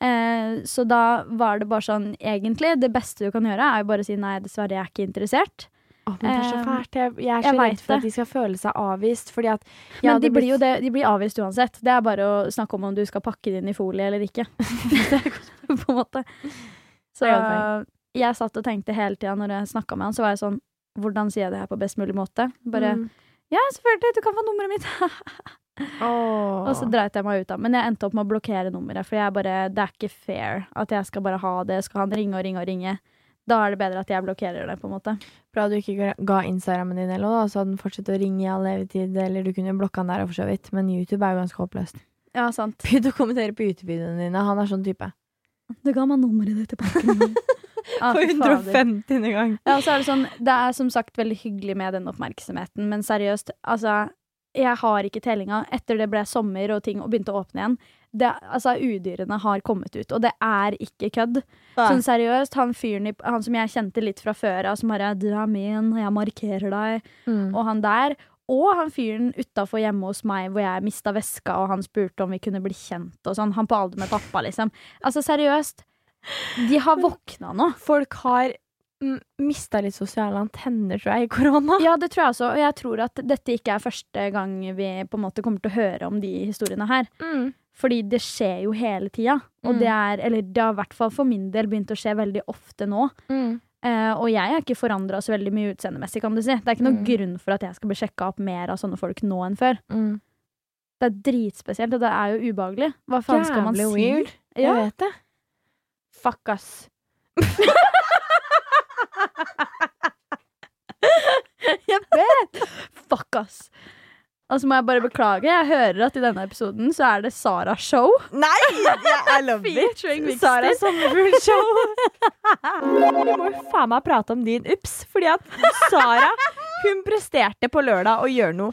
[SPEAKER 3] Eh, så da var det bare sånn, egentlig, det beste du kan gjøre, er jo bare å si nei, dessverre, jeg er ikke interessert.
[SPEAKER 2] Å, men det er så
[SPEAKER 3] Eh,
[SPEAKER 2] fælt. Jeg, jeg er
[SPEAKER 3] jeg
[SPEAKER 2] så redd
[SPEAKER 3] vet
[SPEAKER 2] for
[SPEAKER 3] det.
[SPEAKER 2] at de skal føle seg avvist. Fordi at jeg
[SPEAKER 3] Men
[SPEAKER 2] hadde
[SPEAKER 3] de blir jo
[SPEAKER 2] blitt-
[SPEAKER 3] det, de blir avvist uansett. Det er bare å snakke om om du skal pakke det inn i folie eller ikke. Det er godt- på en måte. Så
[SPEAKER 2] Det er godt
[SPEAKER 3] jeg satt og tenkte hele tida når jeg snakka med han, så var jeg sånn Hvordan sier jeg det her på best mulig måte? Bare
[SPEAKER 2] Mm.
[SPEAKER 3] Ja, selvfølgelig, du kan få nummeret mitt.
[SPEAKER 2] Åh.
[SPEAKER 3] og så dreit jeg meg ut av. Men jeg endte opp med å blokkere nummeret, for jeg bare Det er ikke fair at jeg skal bare ha det. Skal han ringe og ringe og ringe? Da er det bedre at jeg blokkerer det, på en måte.
[SPEAKER 2] Bra du ikke ga- ga Instagrammen din eller noe, da, så hadde den fortsatt å ringe i all evigtid. Eller du kunne blokka den der for så vidt. Men YouTube er jo ganske håpløst.
[SPEAKER 3] Ja, sant.
[SPEAKER 2] Begynn å kommentere på YouTube-videoene dine. Han er sånn type.
[SPEAKER 3] Du ga meg nummeret ditt i pakken. min. Ja, fy fader.
[SPEAKER 2] gang.
[SPEAKER 3] Ja, og så er det sånn, det er som sagt veldig hyggelig med den oppmerksomheten, men seriøst, altså, jeg har ikke tellinga. Etter det ble sommer og ting og begynte å åpne igjen. Det, altså, udyrene har kommet ut, og det er ikke kødd. Sånn seriøst, han fyren i, han som jeg kjente litt fra før av, som bare 'du er min, jeg markerer deg',
[SPEAKER 2] Mm.
[SPEAKER 3] og han der. Og han fyren utafor hjemme hos meg hvor jeg mista veska, og han spurte om vi kunne bli kjent og sånn. Han på alder med pappa, liksom. Altså, seriøst. De har våkna nå.
[SPEAKER 2] Folk har mm, mista litt sosiale antenner, tror jeg, i korona.
[SPEAKER 3] Ja, det tror jeg også. Og jeg tror at dette ikke er første gang vi på en måte kommer til å høre om de historiene her.
[SPEAKER 2] Mm.
[SPEAKER 3] Fordi det skjer jo hele tida. Og
[SPEAKER 2] Mm.
[SPEAKER 3] det er, eller det har i hvert fall for min del begynt å skje veldig ofte nå.
[SPEAKER 2] Mm.
[SPEAKER 3] Eh, og jeg er ikke forandra så veldig mye utseendemessig, kan du si. Det er ikke noen
[SPEAKER 2] Mm.
[SPEAKER 3] grunn for at jeg skal bli sjekka opp mer av sånne folk nå enn før.
[SPEAKER 2] Mm.
[SPEAKER 3] Det er dritspesielt, og det er jo ubehagelig. Hva faen skal man si?
[SPEAKER 2] Jævlig weird. Jeg
[SPEAKER 3] Ja.
[SPEAKER 2] vet det. Fuck, ass.
[SPEAKER 3] Jeg vet! Fuck, ass. Og så må jeg bare beklage. Jeg hører at i denne episoden så er det Sara Show.
[SPEAKER 2] Nei! I love
[SPEAKER 3] Featuring Vixter.
[SPEAKER 2] Sara Sommerfuglshow. Vi må jo faen meg prate om din ups, fordi at Sara hun presterte på lørdag å gjøre noe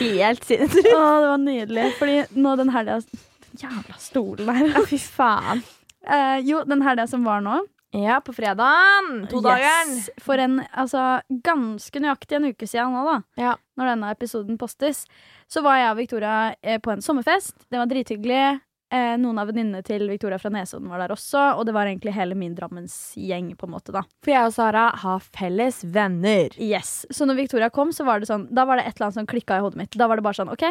[SPEAKER 2] helt sinnssykt.
[SPEAKER 3] Å, det var nydelig. Fordi nå den helga Den jævla stolen her.
[SPEAKER 2] Fy faen.
[SPEAKER 3] Eh, jo, den helga som var nå,
[SPEAKER 2] Ja, på fredagen. To dager.
[SPEAKER 3] Yes. For en altså, ganske nøyaktig en uke siden nå, da.
[SPEAKER 2] Ja.
[SPEAKER 3] Når denne episoden postes. Så var jeg og Victoria eh, på en sommerfest. Det var drithyggelig. Eh, noen av venninnene til Victoria fra Nesodden var der også. Og det var egentlig hele min Drammensgjeng, på en måte, da.
[SPEAKER 2] For jeg og Sara har felles venner.
[SPEAKER 3] Yes. Så når Victoria kom, så var det sånn Da var det et eller annet som klikka i hodet mitt. Da var det bare sånn, OK.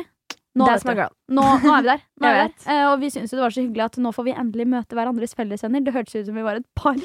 [SPEAKER 3] Nå,
[SPEAKER 2] That's
[SPEAKER 3] vet
[SPEAKER 2] my
[SPEAKER 3] du.
[SPEAKER 2] girl.
[SPEAKER 3] nå, nå er vi der. Nå er vi
[SPEAKER 2] Jeg
[SPEAKER 3] der. Eh, og vi syntes jo det var så hyggelig at nå får vi endelig møte hverandres fellesvenner. Det hørtes ut som vi var et par.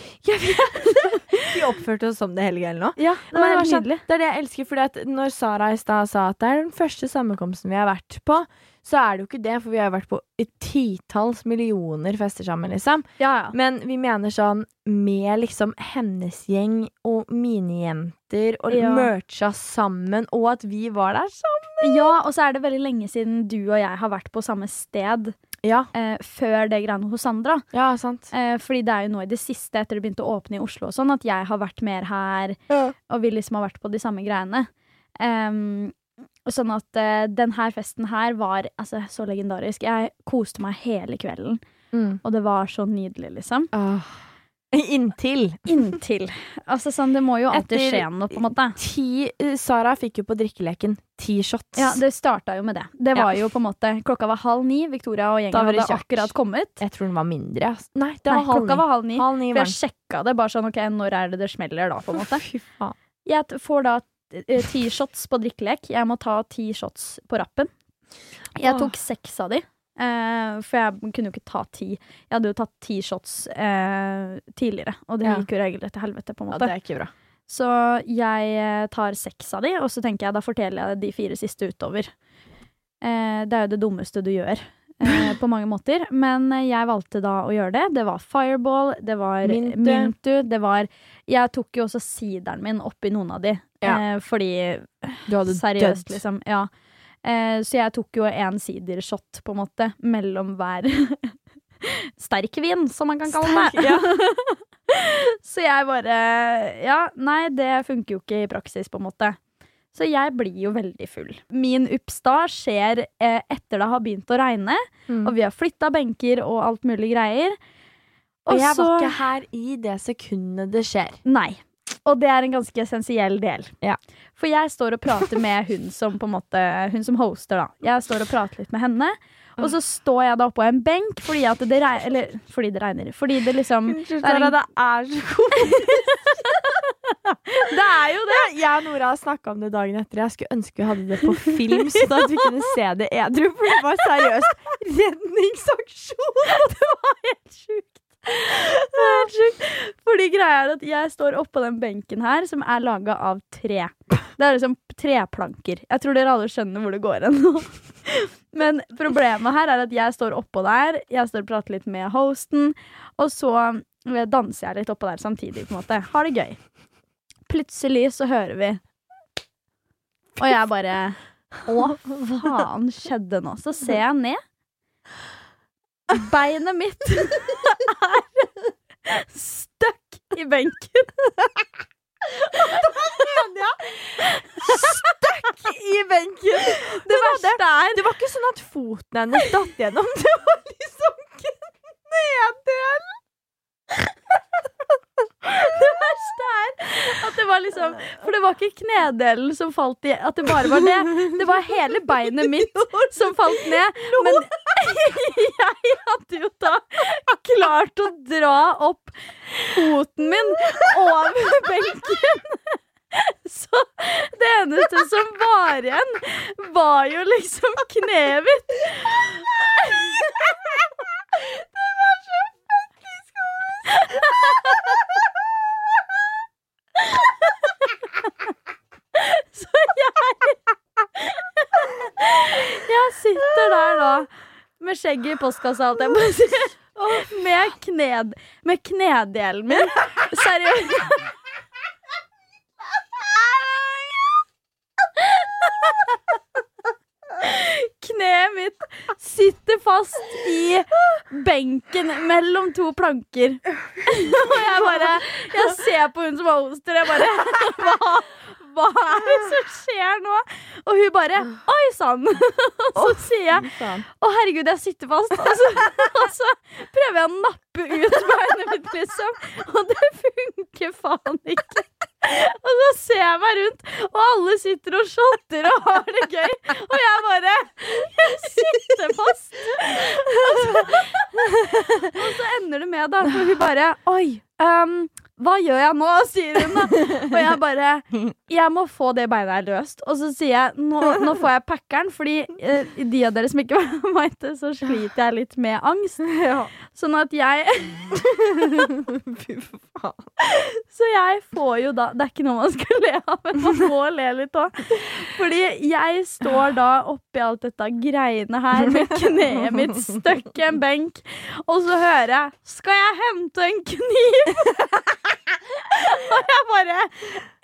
[SPEAKER 2] Vi oppførte oss som det hele greiene nå.
[SPEAKER 3] Ja, det
[SPEAKER 2] Men
[SPEAKER 3] var
[SPEAKER 2] det,
[SPEAKER 3] helt
[SPEAKER 2] var sånn,
[SPEAKER 3] nydelig.
[SPEAKER 2] det er det jeg elsker, fordi at når Sara i stad sa at det er den første sammenkomsten vi har vært på, så er det jo ikke det, for vi har vært på et titalls millioner fester sammen, liksom.
[SPEAKER 3] Ja, ja.
[SPEAKER 2] Men vi mener sånn med liksom hennes gjeng og minijenter og
[SPEAKER 3] Ja.
[SPEAKER 2] mercha sammen, og at vi var der sammen.
[SPEAKER 3] Ja, og så er det veldig lenge siden du og jeg har vært på samme sted
[SPEAKER 2] Ja,
[SPEAKER 3] eh, før det greiene hos Sandra.
[SPEAKER 2] ja sant.
[SPEAKER 3] Eh, fordi det er jo nå i det siste, etter det begynte å åpne i Oslo og sånn, at jeg har vært mer her,
[SPEAKER 2] Ja.
[SPEAKER 3] og vi liksom har vært på de samme greiene. Em, og sånn at eh, den her festen her var altså, så legendarisk. Jeg koste meg hele kvelden,
[SPEAKER 2] Mm.
[SPEAKER 3] og det var så nydelig, liksom.
[SPEAKER 2] Ah. Inntil
[SPEAKER 3] Inntil. Altså sånn, det må jo alltid
[SPEAKER 2] Etter-
[SPEAKER 3] skje noe, på en måte.
[SPEAKER 2] ti eh, Sara fikk jo på drikkeleken ti shots.
[SPEAKER 3] Ja, det starta jo med det. Det var
[SPEAKER 2] Ja.
[SPEAKER 3] jo på en måte Klokka var halv ni, Victoria og
[SPEAKER 2] Da
[SPEAKER 3] gjengen
[SPEAKER 2] var det
[SPEAKER 3] hadde
[SPEAKER 2] kjørt.
[SPEAKER 3] akkurat kommet.
[SPEAKER 2] Jeg tror den var mindre. ass. Nei, det
[SPEAKER 3] Nei,
[SPEAKER 2] var halv
[SPEAKER 3] klokka
[SPEAKER 2] ni.
[SPEAKER 3] var halv ni.
[SPEAKER 2] Halv ni
[SPEAKER 3] For jeg sjekka det bare sånn, ok, når er det det smeller da, på en måte.
[SPEAKER 2] Fy faen.
[SPEAKER 3] Jeg t- får da eh, ti shots på drikkelek. Jeg må ta ti shots på rappen. Jeg
[SPEAKER 2] Åh.
[SPEAKER 3] tok seks av de, eh, for jeg kunne jo ikke ta ti. Jeg hadde jo tatt ti shots eh, tidligere, og det
[SPEAKER 2] Ja.
[SPEAKER 3] gikk jo regelrett til helvete, på en
[SPEAKER 2] Ja,
[SPEAKER 3] måte.
[SPEAKER 2] det er ikke bra.
[SPEAKER 3] Så jeg eh, tar seks av de, og så tenker jeg da forteller jeg de fire siste utover. Eh, det er jo det dummeste du gjør eh, på mange måter. Men eh, jeg valgte da å gjøre det. Det var fireball, det var
[SPEAKER 2] Mintu.
[SPEAKER 3] mintu, det var Jeg tok jo også sideren min oppi noen av de,
[SPEAKER 2] Ja.
[SPEAKER 3] eh, fordi
[SPEAKER 2] Du hadde
[SPEAKER 3] Seriøst,
[SPEAKER 2] dødd.
[SPEAKER 3] liksom. Ja. Eh, så jeg tok jo en sidershot, på en måte, mellom hver Sterk vin, som man kan kalle det. så jeg bare Ja, nei, det funker jo ikke i praksis, på en måte. Så jeg blir jo veldig full. Min oppstart skjer eh, etter det har begynt å regne,
[SPEAKER 2] Mm.
[SPEAKER 3] og vi har flytta benker og alt mulig greier.
[SPEAKER 2] Og jeg var ikke her i det sekundet det skjer.
[SPEAKER 3] Nei. Og det er en ganske essensiell del.
[SPEAKER 2] Ja.
[SPEAKER 3] For jeg står og prater med hun som, på en måte, hun som hoster, da. Jeg står og prater litt med henne, og så står jeg da oppå en benk fordi at det regner Eller fordi det regner. Fordi det liksom
[SPEAKER 2] Unnskyld,
[SPEAKER 3] det er, en,
[SPEAKER 2] det er så komisk.
[SPEAKER 3] det er jo det!
[SPEAKER 2] Jeg og Nora har snakka om det dagen etter. Jeg skulle ønske vi hadde det på film, sånn at vi kunne se det edru. For det var seriøst redningsaksjon!
[SPEAKER 3] Det var helt sjukt. Det var helt sjukt. Fordi greia er at jeg står oppå den benken her, som er laga av tre. Det er liksom treplanker. Jeg tror dere alle skjønner hvor det går hen nå. Men problemet her er at jeg står oppå der, jeg står og prater litt med hosten, og så eh, danser jeg litt oppå der samtidig, på en måte. Har det gøy. Plutselig så hører vi Og jeg bare Å, faen skjedde nå? Så ser jeg ned. Beinet mitt er stuck i benken.
[SPEAKER 2] I benken. Det verste er Det var ikke sånn at foten hennes datt gjennom. Det var liksom ikke neddel.
[SPEAKER 3] Det verste er at det var liksom For det var ikke knedelen som falt i At det bare var det. Det var hele beinet mitt som falt ned. Men jeg hadde jo da klart å dra opp foten min over benken. Så det eneste som var igjen, var jo liksom kneet mitt. Det var så faktisk Så jeg Jeg sitter der da med skjegget i postkassa, alt jeg må si. Med, kned, med knedelen min. Seriøst. Kneet mitt sitter fast i benken mellom to planker. Og jeg bare Jeg ser på hun som hoster, jeg bare Hva, hva er det som skjer nå? Og hun bare Oi sann! Og så sier jeg å herregud, jeg sitter fast. Og så, og så prøver jeg å nappe ut beinet mitt, liksom. Og det funker faen ikke. Og så ser jeg meg rundt, og alle sitter og shotter og har det gøy. Og jeg bare Jeg sitter fast. Og så, og så ender det med, da, for hun bare Oi, ehm, hva gjør jeg nå? sier hun, da. Og jeg bare Jeg må få det beinet her løst. Og så sier jeg nå, nå får jeg packeren, fordi eh, de av dere som ikke var meg til, så sliter jeg litt med angst. Sånn at jeg Så jeg får jo da Det er ikke noe man skal le av, men man må le litt òg. Fordi jeg står da oppi alt dette greiene her med kneet mitt støkk i en benk, og så hører jeg 'Skal jeg hente en kniv?' og jeg bare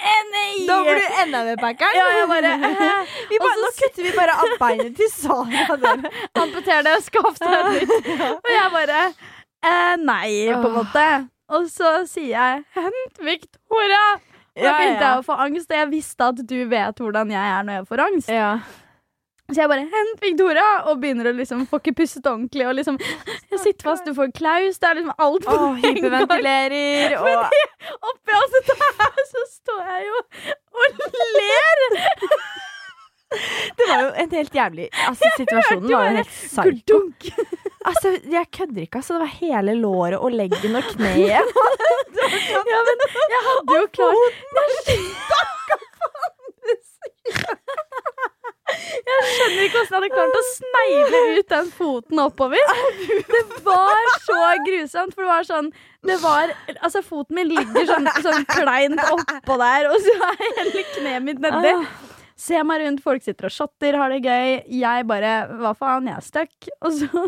[SPEAKER 3] «Eh, Nei!
[SPEAKER 6] Da blir E du enda mer packeren.
[SPEAKER 3] ja, jeg bare «Hæ?»
[SPEAKER 6] Vi bare-
[SPEAKER 3] og så
[SPEAKER 6] nå kutter vi bare av beinet til Sara. dere.
[SPEAKER 3] amputer det, skaff deg et nytt. Og jeg bare eh, Nei, på en måte. Og så sier jeg 'hent vikt, hora'. Og da
[SPEAKER 2] Ja, ja,
[SPEAKER 3] begynte
[SPEAKER 2] ja.
[SPEAKER 3] jeg å få angst, og jeg visste at du vet hvordan jeg er når jeg får angst.
[SPEAKER 2] Ja.
[SPEAKER 3] Så jeg bare 'hent Victoria' og begynner å liksom Får ikke pustet ordentlig. Og liksom Jeg sitter fast, du får klaus. Det er liksom alt på
[SPEAKER 2] Og
[SPEAKER 3] en gang.
[SPEAKER 2] hyperventilerer og
[SPEAKER 3] Oppi alt dette her, så står jeg jo og ler.
[SPEAKER 2] Det var jo en helt jævlig Altså, situasjonen
[SPEAKER 3] jo
[SPEAKER 2] var jo
[SPEAKER 3] bare
[SPEAKER 2] helt psyko.
[SPEAKER 3] Gurdunk.
[SPEAKER 2] Altså, jeg kødder ikke, altså. Det var hele låret og leggen og kneet.
[SPEAKER 3] Ja, men jeg hadde sånn. jo klart Jeg skjønner ikke hvordan jeg hadde klart å snegle ut den foten oppover. Det var så grusomt, for det var sånn det var, altså Foten min ligger sånn, sånn kleint oppå der, og så er hele kneet mitt nedi. Se meg rundt, folk sitter og shotter, har det gøy. Jeg bare Hva faen, jeg er stuck. Og så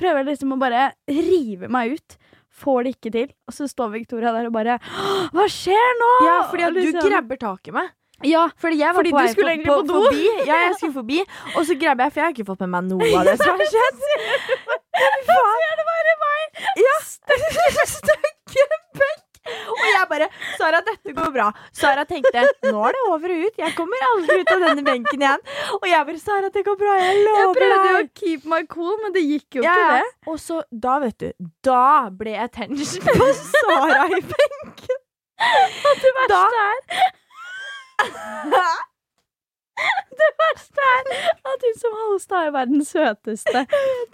[SPEAKER 3] prøver jeg liksom å bare rive meg ut. Får det ikke til. Og så står Victoria der og bare «Åh, Hva skjer nå?
[SPEAKER 2] Ja, fordi at
[SPEAKER 3] Og
[SPEAKER 2] du
[SPEAKER 3] liksom-
[SPEAKER 2] grabber tak i meg.
[SPEAKER 3] Ja,
[SPEAKER 2] Fordi jeg var
[SPEAKER 3] Fordi
[SPEAKER 2] på
[SPEAKER 3] du
[SPEAKER 2] vei
[SPEAKER 3] skulle
[SPEAKER 2] for-
[SPEAKER 3] egentlig på do.
[SPEAKER 2] Forbi. Ja, jeg skulle forbi, og så grabber jeg, for jeg har ikke fått med meg noe av det som har skjedd.
[SPEAKER 3] det bare meg?
[SPEAKER 2] Ja. Støkk i en benk. Og jeg bare Sara, dette går bra. Sara tenkte nå er det over og ut. Jeg kommer aldri ut av denne benken igjen. Og jeg bare Sara, det går bra. Jeg
[SPEAKER 3] Jeg
[SPEAKER 2] lover
[SPEAKER 3] prøvde jo
[SPEAKER 2] deg.
[SPEAKER 3] å keep my cool, men det gikk jo
[SPEAKER 2] Ja, ja.
[SPEAKER 3] ikke det.
[SPEAKER 2] Og så da, vet du, da ble jeg tension på Sara i benken.
[SPEAKER 3] Det verste
[SPEAKER 2] Da-
[SPEAKER 3] er Det verste er at hun som Halstad er verdens søteste.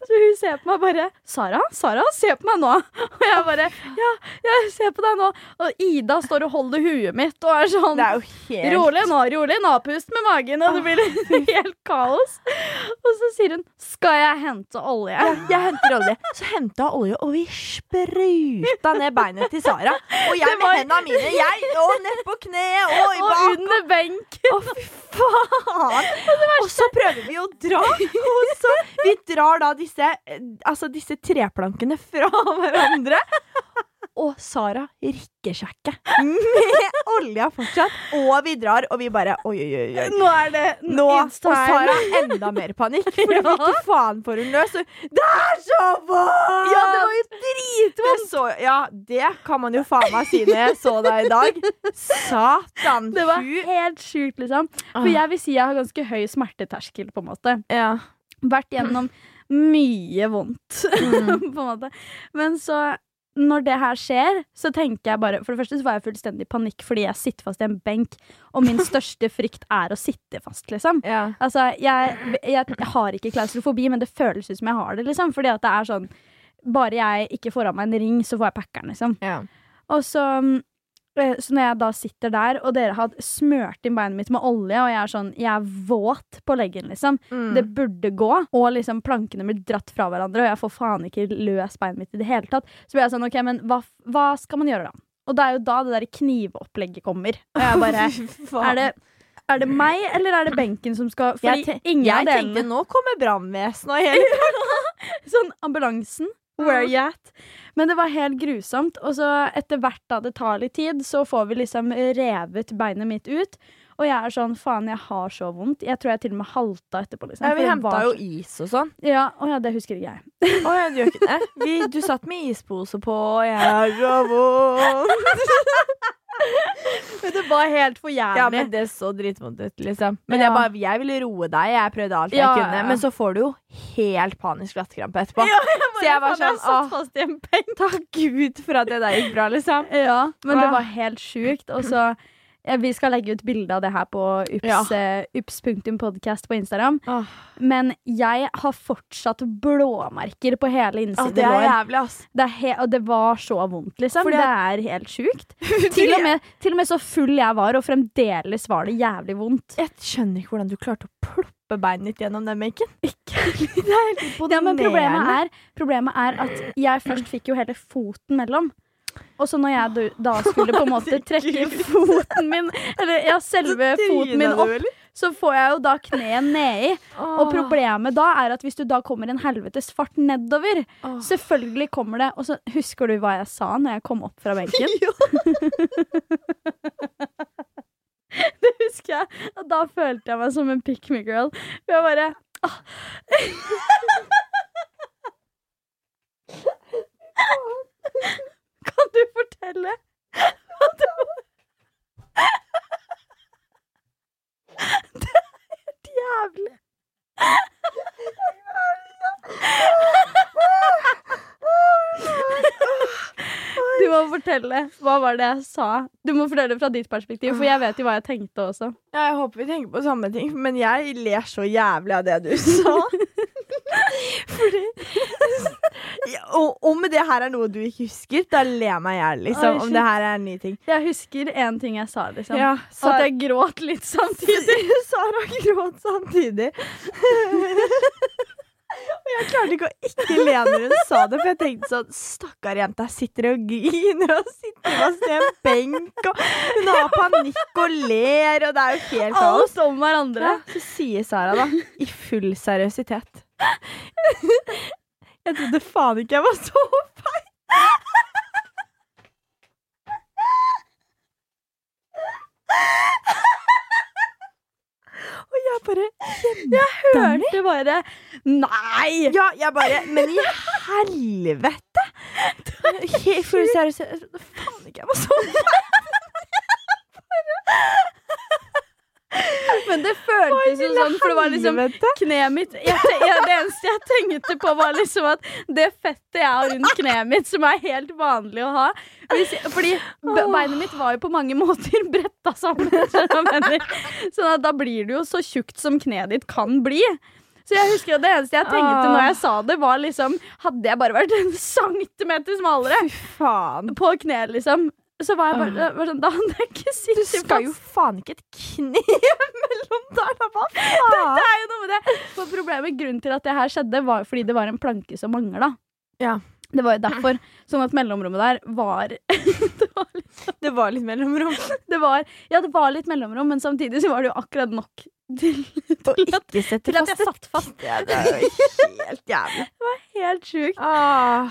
[SPEAKER 3] Så hun ser på meg bare 'Sara, Sara, se på meg nå.' Og jeg bare 'Ja, jeg ser på deg nå.' Og Ida står og holder huet mitt og er sånn
[SPEAKER 2] Det er jo helt
[SPEAKER 3] Rolig nå, rolig nå. Pust med magen, og det blir helt kaos. Og så sier hun 'Skal jeg hente olje?'
[SPEAKER 2] Ja, jeg henter olje. Så henta jeg olje, og vi spruta ned beinet til Sara. Og jeg med hendene mine. Jeg, og nedpå kneet, og i
[SPEAKER 3] Og
[SPEAKER 2] bak.
[SPEAKER 3] under benk.
[SPEAKER 2] Å, fy faen! Og så prøver vi å dra, og så vi drar da disse, eh, altså disse treplankene fra hverandre. Og Sara rikkesjekker med olja fortsatt. Og vi drar, og vi bare oi, oi, oi. oi.
[SPEAKER 3] Nå er det
[SPEAKER 2] Nå, og
[SPEAKER 3] it's time.
[SPEAKER 2] Sara enda mer panikk, for ja. hvilke faen får hun løs? Og Det er så vondt!
[SPEAKER 3] Ja, det var
[SPEAKER 2] jo dritvondt! Så, ja, det kan man jo faen meg si når jeg så deg i dag. Satan,
[SPEAKER 3] Det var
[SPEAKER 2] fy-
[SPEAKER 3] helt sjukt, liksom. For jeg vil si jeg har ganske høy smerteterskel, på en måte.
[SPEAKER 2] ja.
[SPEAKER 3] Vært gjennom mye vondt, på en måte. Men så når det her skjer, så tenker jeg bare For det første så var jeg fullstendig i panikk fordi jeg sitter fast i en benk, og min største frykt er å sitte fast, liksom.
[SPEAKER 2] ja.
[SPEAKER 3] Altså, jeg, jeg har ikke klaustrofobi, men det føles ut som jeg har det, liksom. Fordi at det er sånn Bare jeg ikke får av meg en ring, så får jeg packeren, liksom.
[SPEAKER 2] Ja.
[SPEAKER 3] Og så mm, eh, så når jeg da sitter der, og dere har smørt inn beinet mitt med olje, og jeg er sånn, jeg er våt på leggen, liksom.
[SPEAKER 2] Mm.
[SPEAKER 3] Det burde gå. Og liksom plankene blir dratt fra hverandre, og jeg får faen ikke løs beinet mitt i det hele tatt. Så blir jeg sånn, ok, men hva, hva skal man gjøre da? Og det er jo da det der knivopplegget kommer. Og jeg bare, er det, er det meg, eller er det benken som skal Fordi
[SPEAKER 2] Jeg te-
[SPEAKER 3] ingen av
[SPEAKER 2] Jeg
[SPEAKER 3] delene
[SPEAKER 2] tenkte nå kommer brannvesenet og hele
[SPEAKER 3] Sånn ambulansen. Where you at? Men det var helt grusomt. Og så etter hvert da det tar litt tid, så får vi liksom revet beinet mitt ut. Og jeg er sånn faen, jeg har så vondt. Jeg tror jeg til og med halta etterpå. liksom.
[SPEAKER 2] Nei,
[SPEAKER 3] for
[SPEAKER 2] Vi
[SPEAKER 3] det
[SPEAKER 2] henta
[SPEAKER 3] var
[SPEAKER 2] jo
[SPEAKER 3] så-
[SPEAKER 2] is og sånn.
[SPEAKER 3] Ja, å ja, det husker ikke jeg.
[SPEAKER 2] Å, ja, du, gjør ikke det. Vi, du satt med ispose på, og jeg har så vondt. Men det var helt for jævlig.
[SPEAKER 6] Ja, men
[SPEAKER 2] det så dritvondt ut, liksom. Men
[SPEAKER 3] Ja.
[SPEAKER 2] jeg bare Jeg ville roe deg. Jeg prøvde alt
[SPEAKER 3] Ja,
[SPEAKER 2] jeg
[SPEAKER 3] ja,
[SPEAKER 2] kunne.
[SPEAKER 3] ja.
[SPEAKER 2] Men så får du jo helt panisk latterkrampe etterpå. så jeg var sånn
[SPEAKER 3] satt
[SPEAKER 2] Åh,
[SPEAKER 3] fast i en peng.
[SPEAKER 2] takk Gud for at det der gikk bra, liksom.
[SPEAKER 3] Ja, men
[SPEAKER 2] Hva?
[SPEAKER 3] det var helt sjukt. Og så ja, Vi skal legge ut bilde av det her på
[SPEAKER 2] Ja.
[SPEAKER 3] ups, eh, ups.podcast på Instagram.
[SPEAKER 2] Åh.
[SPEAKER 3] Men jeg har fortsatt blåmerker på
[SPEAKER 2] Åh,
[SPEAKER 3] hele
[SPEAKER 2] det
[SPEAKER 3] innsiden
[SPEAKER 2] er
[SPEAKER 3] lår.
[SPEAKER 2] jævlig, ass.
[SPEAKER 3] Det er he og det var så vondt, liksom.
[SPEAKER 2] Fordi
[SPEAKER 3] det er helt sjukt. Til og, med, til og med så full jeg var, og fremdeles var det jævlig vondt.
[SPEAKER 2] Jeg skjønner ikke hvordan du klarte å ploppe beinet ditt gjennom den benken.
[SPEAKER 3] Ja, men problemet
[SPEAKER 2] Imponerende.
[SPEAKER 3] er, problemet er at jeg først fikk jo hele foten mellom. Og så når jeg du- da skulle på en måte trekke foten min, eller ja, selve foten min opp, så får jeg jo da kneet nedi. Og problemet da er at hvis du da kommer en helvetes fart nedover,
[SPEAKER 2] Åh.
[SPEAKER 3] selvfølgelig kommer det Og så husker du hva jeg sa når jeg kom opp fra benken? det husker jeg. Og da følte jeg meg som en pick me girl. For jeg bare ah. Kan du fortelle hva det var? Det er helt jævlig. Du må fortelle. Hva var det jeg sa? Du må fortelle fra ditt perspektiv, for jeg vet jo hva jeg tenkte også.
[SPEAKER 2] Ja, jeg håper vi tenker på samme ting, men jeg ler så jævlig av det du sa. Fordi ja, og, Om det her er noe du ikke husker, da ler jeg meg i hjel,
[SPEAKER 3] Oi,
[SPEAKER 2] liksom.
[SPEAKER 3] shit.
[SPEAKER 2] om det her er en ny ting.
[SPEAKER 3] Jeg husker én ting jeg sa, liksom.
[SPEAKER 2] Ja,
[SPEAKER 3] At
[SPEAKER 2] Sara,
[SPEAKER 3] jeg gråt litt samtidig.
[SPEAKER 2] Sara gråt samtidig. Og jeg klarte ikke å ikke le når hun sa det, for jeg tenkte sånn Stakkar jenta sitter og griner og sitter fast i en benk, og hun har panikk og ler, og det er jo helt kaos.
[SPEAKER 3] Alt om hverandre.
[SPEAKER 2] Ja, så sier Sara da, i full seriøsitet Jeg trodde faen ikke jeg var så feil. Og jeg bare Jeg
[SPEAKER 3] Hørte bare Nei!
[SPEAKER 2] Ja, jeg bare Men i helvete! Helt full seriøsitet. Jeg trodde faen ikke jeg var så
[SPEAKER 3] Men det føltes jo sånn, for det var liksom
[SPEAKER 2] Helvete.
[SPEAKER 3] kneet mitt jeg, te- jeg, Det eneste jeg tenkte på, var liksom at det fettet jeg har rundt kneet mitt, som er helt vanlig å ha hvis, jeg- Fordi be- beinet mitt var jo på mange måter bretta sammen. skjønner du hva jeg mener? Sånn at da blir det jo så tjukt som kneet ditt kan bli. Så jeg husker at Det eneste jeg tenkte når jeg sa det, var liksom Hadde jeg bare vært en centimeter smalere
[SPEAKER 2] Faen.
[SPEAKER 3] på kneet, liksom, så var jeg bare, bare sånn Da hadde jeg ikke
[SPEAKER 2] Ah. Du
[SPEAKER 3] sittet
[SPEAKER 2] skal jo
[SPEAKER 3] fast.
[SPEAKER 2] faen ikke et kniv mellom der, da. Hva faen?
[SPEAKER 3] Det er jo noe med det. For problemet, grunnen til at det her skjedde, var jo fordi det var en planke som mangla.
[SPEAKER 2] Ja.
[SPEAKER 3] Det var jo derfor. Sånn at mellomrommet der var det, var litt,
[SPEAKER 2] Det var litt mellomrom.
[SPEAKER 3] det var Ja, det var litt mellomrom, men samtidig så var det jo akkurat nok til, til, at,
[SPEAKER 2] Ikke sett
[SPEAKER 3] til at jeg satt fast.
[SPEAKER 2] Ja, det er jo helt jævlig.
[SPEAKER 3] Helt sjukt.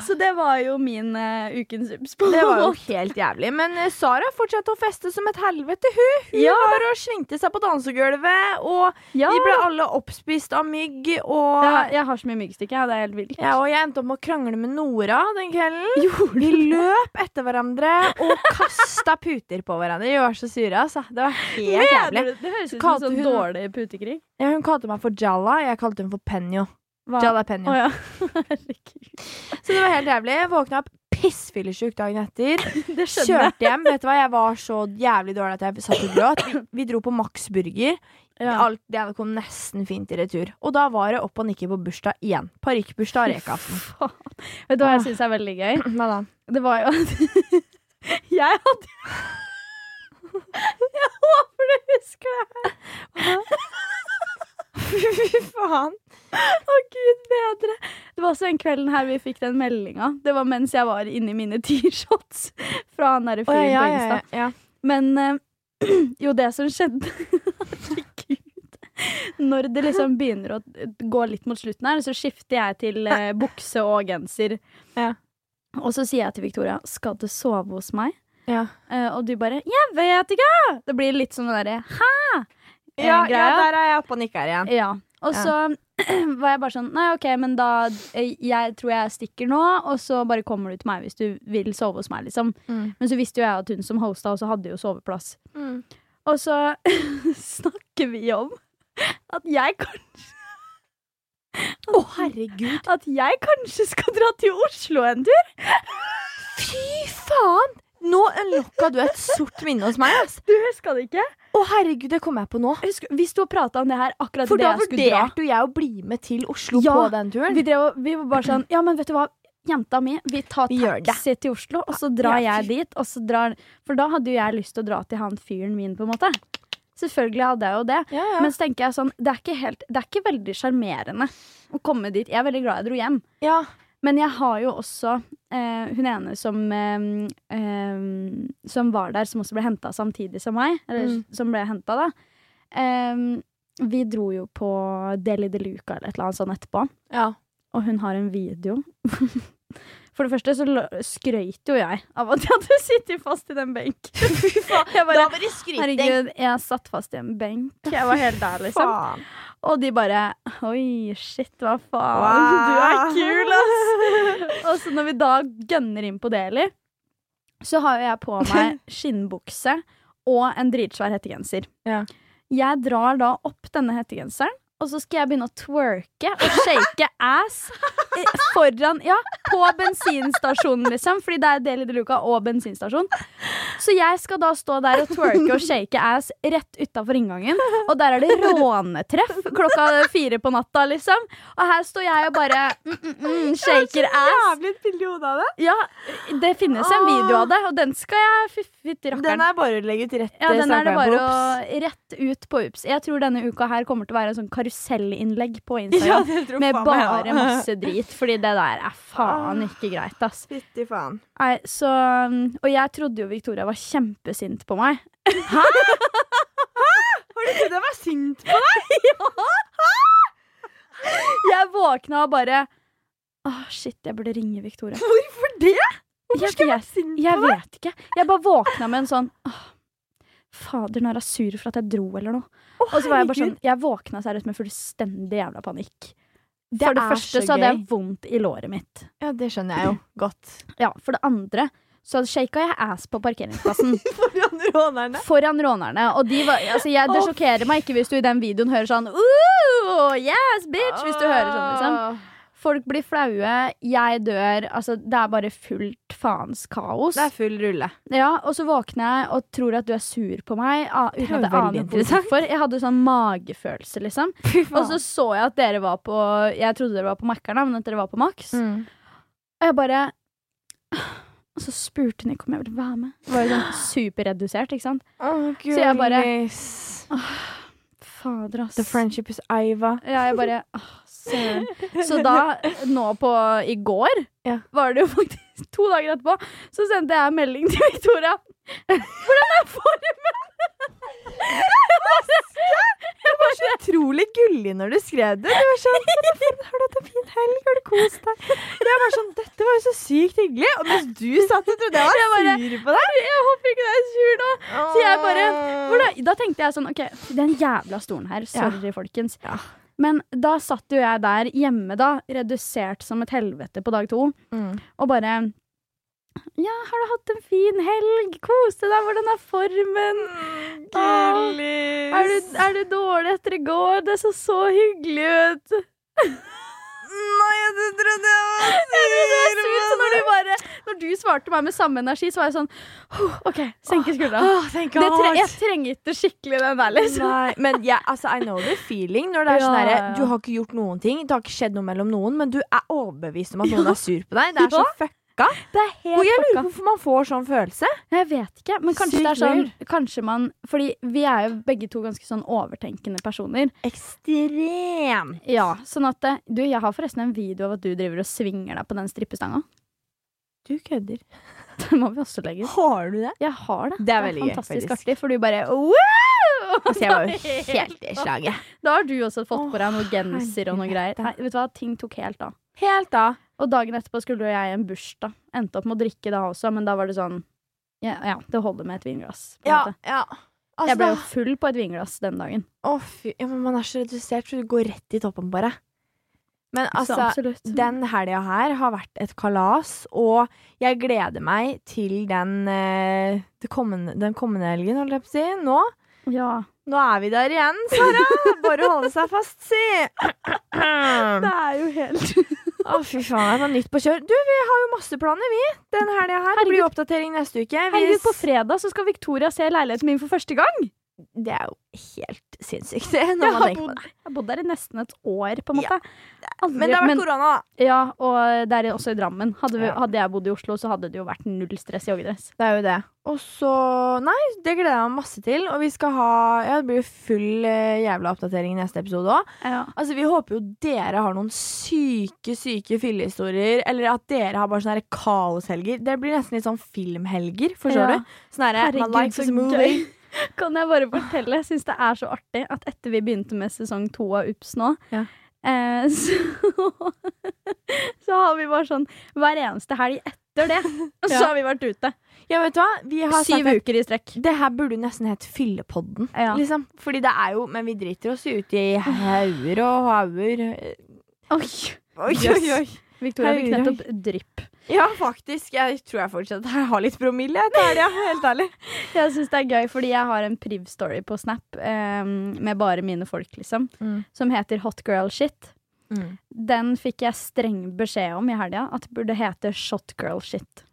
[SPEAKER 3] Så det var jo min eh, ukens ups. på
[SPEAKER 2] det
[SPEAKER 3] en
[SPEAKER 2] var jo
[SPEAKER 3] måte.
[SPEAKER 2] helt jævlig. Men eh, Sara fortsatte å feste som et helvete, hun. Hun
[SPEAKER 3] Ja.
[SPEAKER 2] var og svingte seg på dansegulvet, og
[SPEAKER 3] ja.
[SPEAKER 2] vi ble alle oppspist av mygg, og
[SPEAKER 3] Jeg har, jeg har så mye myggstykke, ja, det er helt vilt.
[SPEAKER 2] ja, og jeg endte opp med å krangle med Nora den kvelden. Vi løp etter hverandre og kasta puter på hverandre. Vi var så sure, altså. Det var helt jævlig.
[SPEAKER 3] det, det høres ut som
[SPEAKER 2] kalte
[SPEAKER 3] sånn
[SPEAKER 2] hun-
[SPEAKER 3] dårlig putekrig.
[SPEAKER 2] Ja, hun kalte meg for Jalla, jeg kalte hun for Penjo.
[SPEAKER 3] Hva?
[SPEAKER 2] Jalapeño.
[SPEAKER 3] Å, ja. Herregud.
[SPEAKER 2] Så det var helt jævlig. Jeg våkna opp pissfyllesyk dagen etter.
[SPEAKER 3] Det skjønner jeg.
[SPEAKER 2] Kjørte hjem. Vet du hva, jeg var så jævlig dårlig at jeg satt og gråt. Vi, vi dro på Max Burger.
[SPEAKER 3] Ja.
[SPEAKER 2] Alt det kom nesten fint i retur. Og da var det opp og nikke på bursdag igjen. Parykkbursdag og rekeaften.
[SPEAKER 3] Faen. Vet du hva jeg syns er veldig gøy?
[SPEAKER 2] Ah. Hva da?
[SPEAKER 3] Det var jo Jeg hadde Jeg håper du husker det her.
[SPEAKER 2] Fy faen.
[SPEAKER 3] Å, gud bedre. Det var også den kvelden her vi fikk den meldinga. Det var mens jeg var inni mine T-shots fra han derre
[SPEAKER 2] Å, ja,
[SPEAKER 3] fyren på
[SPEAKER 2] ja, ja,
[SPEAKER 3] Insta.
[SPEAKER 2] ja.
[SPEAKER 3] Men eh, jo, det som skjedde Herregud. Når det liksom begynner å gå litt mot slutten her, så skifter jeg til eh, bukse og genser.
[SPEAKER 2] Ja.
[SPEAKER 3] Og så sier jeg til Victoria, skal du sove hos meg?
[SPEAKER 2] Ja.
[SPEAKER 3] Eh, og du bare 'Jeg vet ikke!' Det blir litt sånn det derre hæ? Eh,
[SPEAKER 2] Ja, ja,
[SPEAKER 3] greia.
[SPEAKER 2] der er jeg oppe og nikker igjen.
[SPEAKER 3] Ja. Og
[SPEAKER 2] Ja.
[SPEAKER 3] så var jeg bare sånn Nei, OK, men da eh, Jeg tror jeg stikker nå, og så bare kommer du til meg hvis du vil sove hos meg, liksom.
[SPEAKER 2] Mm.
[SPEAKER 3] Men så visste jo jeg at hun som hosta også hadde jo soveplass.
[SPEAKER 2] Mm. Mm.
[SPEAKER 3] Og så snakker vi om at jeg kanskje
[SPEAKER 2] Å, herregud.
[SPEAKER 3] At jeg kanskje skal dra til Oslo en tur.
[SPEAKER 2] Fy faen! Nå unlocka du et sort minne hos meg. ass.
[SPEAKER 3] Du huska det ikke?
[SPEAKER 2] Å, herregud, det kom jeg på nå.
[SPEAKER 3] Jeg husker, vi sto og prata om det her akkurat
[SPEAKER 2] For
[SPEAKER 3] det
[SPEAKER 2] da
[SPEAKER 3] jeg skulle dra.
[SPEAKER 2] vurderte jo jeg å bli med til Oslo
[SPEAKER 3] Ja,
[SPEAKER 2] på den turen.
[SPEAKER 3] Vi, drev, og- vi var bare sånn Ja, men vet du hva? Jenta mi, vi tar
[SPEAKER 2] Vi gjør det.
[SPEAKER 3] taxi til Oslo, og så drar
[SPEAKER 2] Ja,
[SPEAKER 3] jeg dit. Og så drar, for da hadde jo jeg lyst til å dra til han fyren min, på en måte. Selvfølgelig hadde jeg jo det.
[SPEAKER 2] Ja, ja.
[SPEAKER 3] Men så tenker jeg sånn, det er ikke, helt, det er ikke veldig sjarmerende å komme dit. Jeg er veldig glad jeg dro hjem.
[SPEAKER 2] ja.
[SPEAKER 3] Men jeg har jo også eh, hun ene som, eh, eh, som var der, som også ble henta samtidig som meg. Eller
[SPEAKER 2] Mm.
[SPEAKER 3] som ble henta, da. Eh, vi dro jo på Deli de Luca eller et eller annet sånt etterpå,
[SPEAKER 2] ja.
[SPEAKER 3] og hun har en video. For det første så lo- skrøyt jo jeg av at jeg hadde sittet fast i den benken. Jeg bare,
[SPEAKER 6] var det skryting.
[SPEAKER 3] herregud, jeg satt fast i en benk. Jeg var helt der, liksom.
[SPEAKER 6] Faen.
[SPEAKER 3] Og de bare Oi, shit, hva faen.
[SPEAKER 6] Wow.
[SPEAKER 3] Du er kul, ass. og så når vi da gønner inn på Deli, så har jo jeg på meg skinnbukse og en dritsvær hettegenser.
[SPEAKER 2] Ja.
[SPEAKER 3] Jeg drar da opp denne hettegenseren, og så skal jeg begynne å twerke og shake ass i- foran Ja, på bensinstasjonen, liksom. Fordi det er Deli de Luca og bensinstasjon. Så jeg skal da stå der og twerke og shake ass rett utafor inngangen. Og der er det rånetreff klokka fire på natta, liksom. Og her står jeg og bare mm, mm, mm, shaker ass.
[SPEAKER 6] Jævlig et bilde i hodet av det.
[SPEAKER 3] Ja, det finnes en video av det, og den skal jeg fytti rakkeren.
[SPEAKER 6] Ah. Den er bare å legge ut rett
[SPEAKER 3] Ja,
[SPEAKER 6] eh,
[SPEAKER 3] den er det
[SPEAKER 6] Instagram
[SPEAKER 3] bare
[SPEAKER 6] på
[SPEAKER 3] å
[SPEAKER 6] Ops.
[SPEAKER 3] rett ut på Ups. Jeg tror denne uka her kommer til å være en sånn karusellinnlegg på
[SPEAKER 6] Ja,
[SPEAKER 3] Instagram.
[SPEAKER 6] det tror
[SPEAKER 3] med
[SPEAKER 6] faen meg,
[SPEAKER 3] bare
[SPEAKER 6] ja. Ah.
[SPEAKER 3] masse drit, fordi det der er faen ikke greit, ass.
[SPEAKER 6] Fytti faen.
[SPEAKER 3] Nei, så um, Og jeg trodde jo Victoria var kjempesint på meg.
[SPEAKER 6] Har du trodd jeg var sint på
[SPEAKER 3] Jeg våkna og bare Å, shit, jeg burde ringe Victoria.
[SPEAKER 6] Hvorfor det? skal
[SPEAKER 3] Jeg
[SPEAKER 6] jeg
[SPEAKER 3] vet-
[SPEAKER 6] være sint på
[SPEAKER 3] Jeg vet ikke. Jeg bare våkna med en sånn «Åh, Fader, nå er jeg sur for at jeg dro, eller noe. og så var jeg bare sånn
[SPEAKER 6] herregud.
[SPEAKER 3] Jeg våkna seriøst med fullstendig jævla panikk. for det
[SPEAKER 2] er
[SPEAKER 3] første
[SPEAKER 2] så
[SPEAKER 3] så hadde jeg
[SPEAKER 2] gøy.
[SPEAKER 3] vondt i låret mitt.
[SPEAKER 2] ja, det skjønner jeg jo godt.
[SPEAKER 3] Ja, For det andre så shaka jeg ass på parkeringsplassen
[SPEAKER 6] foran rånerne?
[SPEAKER 3] foran rånerne. Og de var Altså, jeg, det
[SPEAKER 6] Å,
[SPEAKER 3] sjokkerer meg ikke hvis du i den videoen hører sånn Ooh, yes, bitch! Hvis du hører sånn, liksom.
[SPEAKER 2] Ah.
[SPEAKER 3] Folk blir flaue, jeg dør. Altså, det er bare fullt faens kaos.
[SPEAKER 2] Det er full rulle.
[SPEAKER 3] Ja, og så våkner jeg og tror at du er sur på meg. a-
[SPEAKER 2] jo
[SPEAKER 3] Uten at jeg
[SPEAKER 2] veldig
[SPEAKER 3] aner
[SPEAKER 2] interessant.
[SPEAKER 3] hvorfor. Jeg hadde sånn magefølelse, liksom. Og så så jeg at dere var på Jeg trodde dere var på Mækkern, da, men at dere var på Max.
[SPEAKER 2] Mm.
[SPEAKER 3] Og jeg bare Og så spurte hun ikke om jeg ville være med. Det var jo sånn superredusert, ikke sant.
[SPEAKER 2] så
[SPEAKER 3] jeg bare-
[SPEAKER 2] goodness.
[SPEAKER 3] Fader, ass.
[SPEAKER 2] The friendship is Iva.
[SPEAKER 3] Ja, jeg bare Åh, søren. Så da, nå på i går,
[SPEAKER 2] Ja.
[SPEAKER 3] var det jo faktisk to dager etterpå, så sendte jeg en melding til Victoria. Hvordan er formen? Jeg bare- jeg bare-
[SPEAKER 6] Så utrolig gullig når du skrev det. Du var sånn, «Men det er fint. Har du hatt en fin helg? Har du kost deg? Jeg var sånn, Dette var jo så sykt hyggelig. Og mens du satt og trodde jeg var
[SPEAKER 3] bare-
[SPEAKER 6] sur på deg.
[SPEAKER 3] Jeg håper ikke det er sur nå. Så jeg bare hvordan, Da tenkte jeg sånn OK, den jævla stolen her. Sorry, folkens.
[SPEAKER 6] Ja.
[SPEAKER 3] Men da satt jo jeg der hjemme, da, redusert som et helvete på dag to,
[SPEAKER 2] Mm.
[SPEAKER 3] og bare Ja, har du hatt en fin helg? Kose deg? Hvordan er formen?
[SPEAKER 6] Mm, Gullis.
[SPEAKER 3] Er du, er du dårlig etter i går? Det så så hyggelig ut.
[SPEAKER 6] Mm, Nei, du trodde jeg var sur
[SPEAKER 3] Jeg er sur, så når, du bare, når du svarte meg med samme energi, så var jeg sånn «Huh, OK, senke skuldra.
[SPEAKER 6] Åh, thank
[SPEAKER 3] Det tre,
[SPEAKER 6] God.
[SPEAKER 3] jeg trengte skikkelig den der, liksom.
[SPEAKER 6] Nei, men jeg, altså, I know the feeling når det er
[SPEAKER 3] Ja,
[SPEAKER 6] sånn herre
[SPEAKER 3] ja, ja.
[SPEAKER 6] Du har ikke gjort noen ting, det har ikke skjedd noe mellom noen, men du er overbevist om at noen er sur på deg. Det er så fucka.
[SPEAKER 3] Det er
[SPEAKER 6] Og jeg lurer på
[SPEAKER 3] helt fucka.
[SPEAKER 6] hvorfor man får sånn følelse.
[SPEAKER 3] Jeg vet ikke, men kanskje
[SPEAKER 6] Sykt
[SPEAKER 3] det er sånn Kanskje man Fordi vi er jo begge to ganske sånn overtenkende personer.
[SPEAKER 6] Ekstrem.
[SPEAKER 3] Ja, sånn at eh, Du, jeg har forresten en video av at du driver og svinger deg på den strippestanga.
[SPEAKER 6] Du kødder.
[SPEAKER 3] Den må vi også legge ut.
[SPEAKER 6] Har du det?
[SPEAKER 3] Jeg har det.
[SPEAKER 6] Det er veldig gøy,
[SPEAKER 3] fantastisk
[SPEAKER 6] faktisk.
[SPEAKER 3] artig, for du bare wow!
[SPEAKER 6] Altså, jeg var jo helt i slaget.
[SPEAKER 3] Da har du også fått på deg noe genser og noe greier.
[SPEAKER 6] helvete.
[SPEAKER 3] Nei, vet du hva, Ting tok helt av.
[SPEAKER 6] Helt da.
[SPEAKER 3] Og dagen etterpå skulle jo jeg i en bursdag. Endte opp med å drikke da også, men da var det sånn Ja, ja det holder med et vinglass. På en måte.
[SPEAKER 6] ja.
[SPEAKER 3] jeg
[SPEAKER 6] Altså,
[SPEAKER 3] ble jo full på et vinglass den dagen.
[SPEAKER 6] Å, fy. Ja, men man er så redusert, så du går rett i toppen, bare.
[SPEAKER 2] Men
[SPEAKER 3] Så
[SPEAKER 2] altså,
[SPEAKER 3] absolutt.
[SPEAKER 2] den helga her har vært et kalas, og jeg gleder meg til den, eh, det kommende, den kommende helgen, holdt jeg på å si. Nå.
[SPEAKER 3] ja.
[SPEAKER 2] Nå er vi der igjen, Sara! Bare holde seg fast, si! Å,
[SPEAKER 3] Det er jo helt
[SPEAKER 2] fy faen, det var nytt på kjør. Du, vi har jo masse planer, vi. Den helga her. Det blir jo oppdatering neste uke. Vi
[SPEAKER 3] Herregud, på fredag så skal Victoria se leiligheten min for første gang!
[SPEAKER 2] Det er jo helt sinnssykt, det, når
[SPEAKER 3] Jeg
[SPEAKER 2] man
[SPEAKER 3] har
[SPEAKER 2] tenker på
[SPEAKER 3] bodd,
[SPEAKER 2] det.
[SPEAKER 3] jeg har bodd der i nesten et år, på en måte. Aldri,
[SPEAKER 2] Men det har vært korona, da.
[SPEAKER 3] ja, og det er også i Drammen. Hadde, vi,
[SPEAKER 2] Ja.
[SPEAKER 3] hadde jeg bodd i Oslo, så hadde det jo vært null stress i joggedress.
[SPEAKER 2] Det er jo det. Og så Nei, det gleder jeg meg masse til. Og vi skal ha Ja, det blir jo full eh, jævla oppdatering i neste episode òg.
[SPEAKER 3] Ja.
[SPEAKER 2] Altså, vi håper jo dere har noen syke, syke fyllehistorier. Eller at dere har bare sånne her kaoshelger. Det blir nesten litt sånn filmhelger, forstår
[SPEAKER 3] Ja.
[SPEAKER 2] du? Sånn herre My
[SPEAKER 3] Herregud,
[SPEAKER 2] life
[SPEAKER 3] så
[SPEAKER 2] is a movie.
[SPEAKER 3] gøy. Kan jeg bare fortelle? Jeg syns det er så artig at etter vi begynte med sesong to av Ups nå,
[SPEAKER 2] Ja.
[SPEAKER 3] eh, så, så har vi bare sånn hver eneste helg etter det, så har vi vært ute.
[SPEAKER 2] Ja, vet du hva? Vi har sagt
[SPEAKER 3] Syv
[SPEAKER 2] at
[SPEAKER 3] uker i strekk.
[SPEAKER 2] det her burde jo nesten hett Fyllepodden.
[SPEAKER 3] Ja.
[SPEAKER 2] Liksom. Fordi det er jo Men vi driter oss jo ut i hauger og hauger.
[SPEAKER 3] Oi.
[SPEAKER 2] Oi,
[SPEAKER 3] Yes. Victoria fikk
[SPEAKER 2] Herregud.
[SPEAKER 3] nettopp drypp.
[SPEAKER 2] Ja, faktisk. Jeg tror jeg fortsatt har litt promille. jeg, Det er det, helt ærlig.
[SPEAKER 3] Jeg syns det er gøy, fordi jeg har en priv-story på Snap eh, med bare mine folk, liksom,
[SPEAKER 2] Mm.
[SPEAKER 3] som heter Hot Girl Shit.
[SPEAKER 2] Mm.
[SPEAKER 3] Den fikk jeg streng beskjed om i helga, at det burde hete Shot Girl Shit.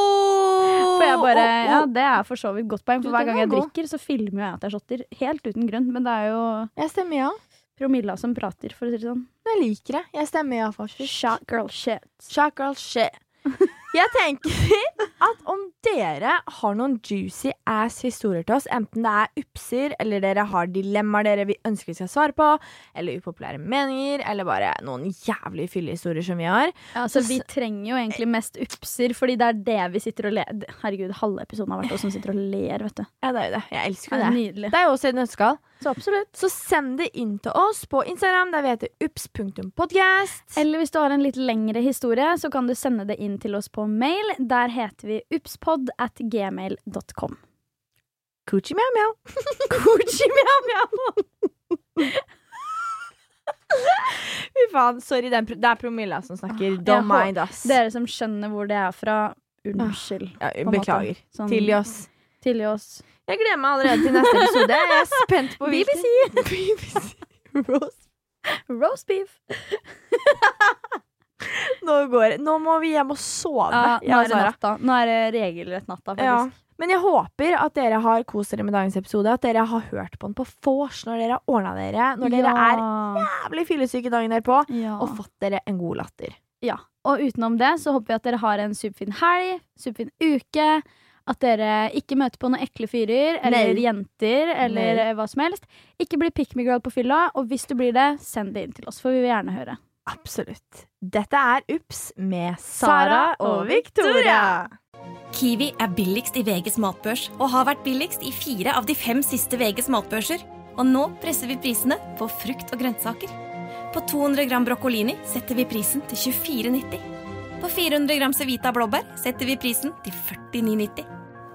[SPEAKER 3] For jeg bare, ja, Det er for så vidt godt poeng, for
[SPEAKER 2] Du,
[SPEAKER 3] hver
[SPEAKER 2] den
[SPEAKER 3] gang
[SPEAKER 2] var
[SPEAKER 3] jeg
[SPEAKER 2] god.
[SPEAKER 3] drikker, så filmer jeg at jeg shotter. Helt uten grunn, men det er jo
[SPEAKER 2] Jeg stemmer ja.
[SPEAKER 3] promilla som prater, for å si det sånn.
[SPEAKER 2] Jeg liker det. Jeg stemmer ja, faktisk.
[SPEAKER 3] Shot girl shit.
[SPEAKER 2] Shot girl shit. Jeg tenker at om dere har noen juicy ass historier til oss, enten det er upser, eller dere har dilemmaer dere vi ønsker vi skal svare på, eller upopulære meninger, eller bare noen jævlig fyllehistorier som vi har
[SPEAKER 3] Altså, vi trenger jo egentlig mest upser, fordi det er det vi sitter og ler Herregud, halve episoden har vært oss som sitter og ler, vet du.
[SPEAKER 2] Ja, det er jo det. Jeg elsker jo
[SPEAKER 3] Det er
[SPEAKER 2] det.
[SPEAKER 3] nydelig.
[SPEAKER 2] Det er jo også et nøtteskall.
[SPEAKER 3] Så absolutt.
[SPEAKER 2] Så send det inn til oss på Instagram, der vi heter ups.podkast.
[SPEAKER 3] Eller hvis du har en litt lengre historie, så kan du sende det inn til oss på mail. Der heter vi upspod at gmail.com.
[SPEAKER 2] Coochie mjau mjau. Coochie mjau mjau. Fy faen, sorry. den pro- Det er promilla som snakker.
[SPEAKER 3] Jeg
[SPEAKER 2] Don't
[SPEAKER 3] hå-
[SPEAKER 2] mind us.
[SPEAKER 3] Dere som skjønner hvor det er fra, unnskyld.
[SPEAKER 2] Ja,
[SPEAKER 3] på en måte.
[SPEAKER 2] Ah. beklager.
[SPEAKER 3] Sånn-
[SPEAKER 2] Tilgi oss.
[SPEAKER 3] Tilgi oss.
[SPEAKER 2] Jeg gleder meg allerede til neste episode. Jeg er spent på hvilken BBC. Roast.
[SPEAKER 3] Roast beef.
[SPEAKER 2] Nå går Nå må vi hjem og sove.
[SPEAKER 3] Ja, nå
[SPEAKER 2] jeg og
[SPEAKER 3] er det
[SPEAKER 2] Sara.
[SPEAKER 3] natta. Nå er det regelrett natta,
[SPEAKER 2] Ah, Ja.
[SPEAKER 3] faktisk.
[SPEAKER 2] Men jeg håper at dere har kost dere med dagens episode. At dere har hørt på den på vors når dere har ordna dere. Når dere er jævlig fyllesyke dagen derpå.
[SPEAKER 3] ja.
[SPEAKER 2] Og fått dere en god latter.
[SPEAKER 3] ja. Og utenom det så håper vi at dere har en superfin helg, superfin uke. At dere ikke møter på noen ekle fyrer eller
[SPEAKER 2] Nei.
[SPEAKER 3] jenter eller eh, hva som helst. Ikke bli pick me girl på fylla, og hvis du blir det, send det inn til oss, for vi vil gjerne høre.
[SPEAKER 2] Absolutt. Dette er Ups med
[SPEAKER 3] Sara
[SPEAKER 2] Sara
[SPEAKER 3] og
[SPEAKER 2] og Victoria.
[SPEAKER 7] Kiwi er billigst i VGs matbørs og har vært billigst i fire av de fem siste VGs matbørser. Og nå presser vi prisene på frukt og grønnsaker. På 200 gram broccolini setter vi prisen til 24,90. På 400 gram Cevita blåbær setter vi prisen til 49,90.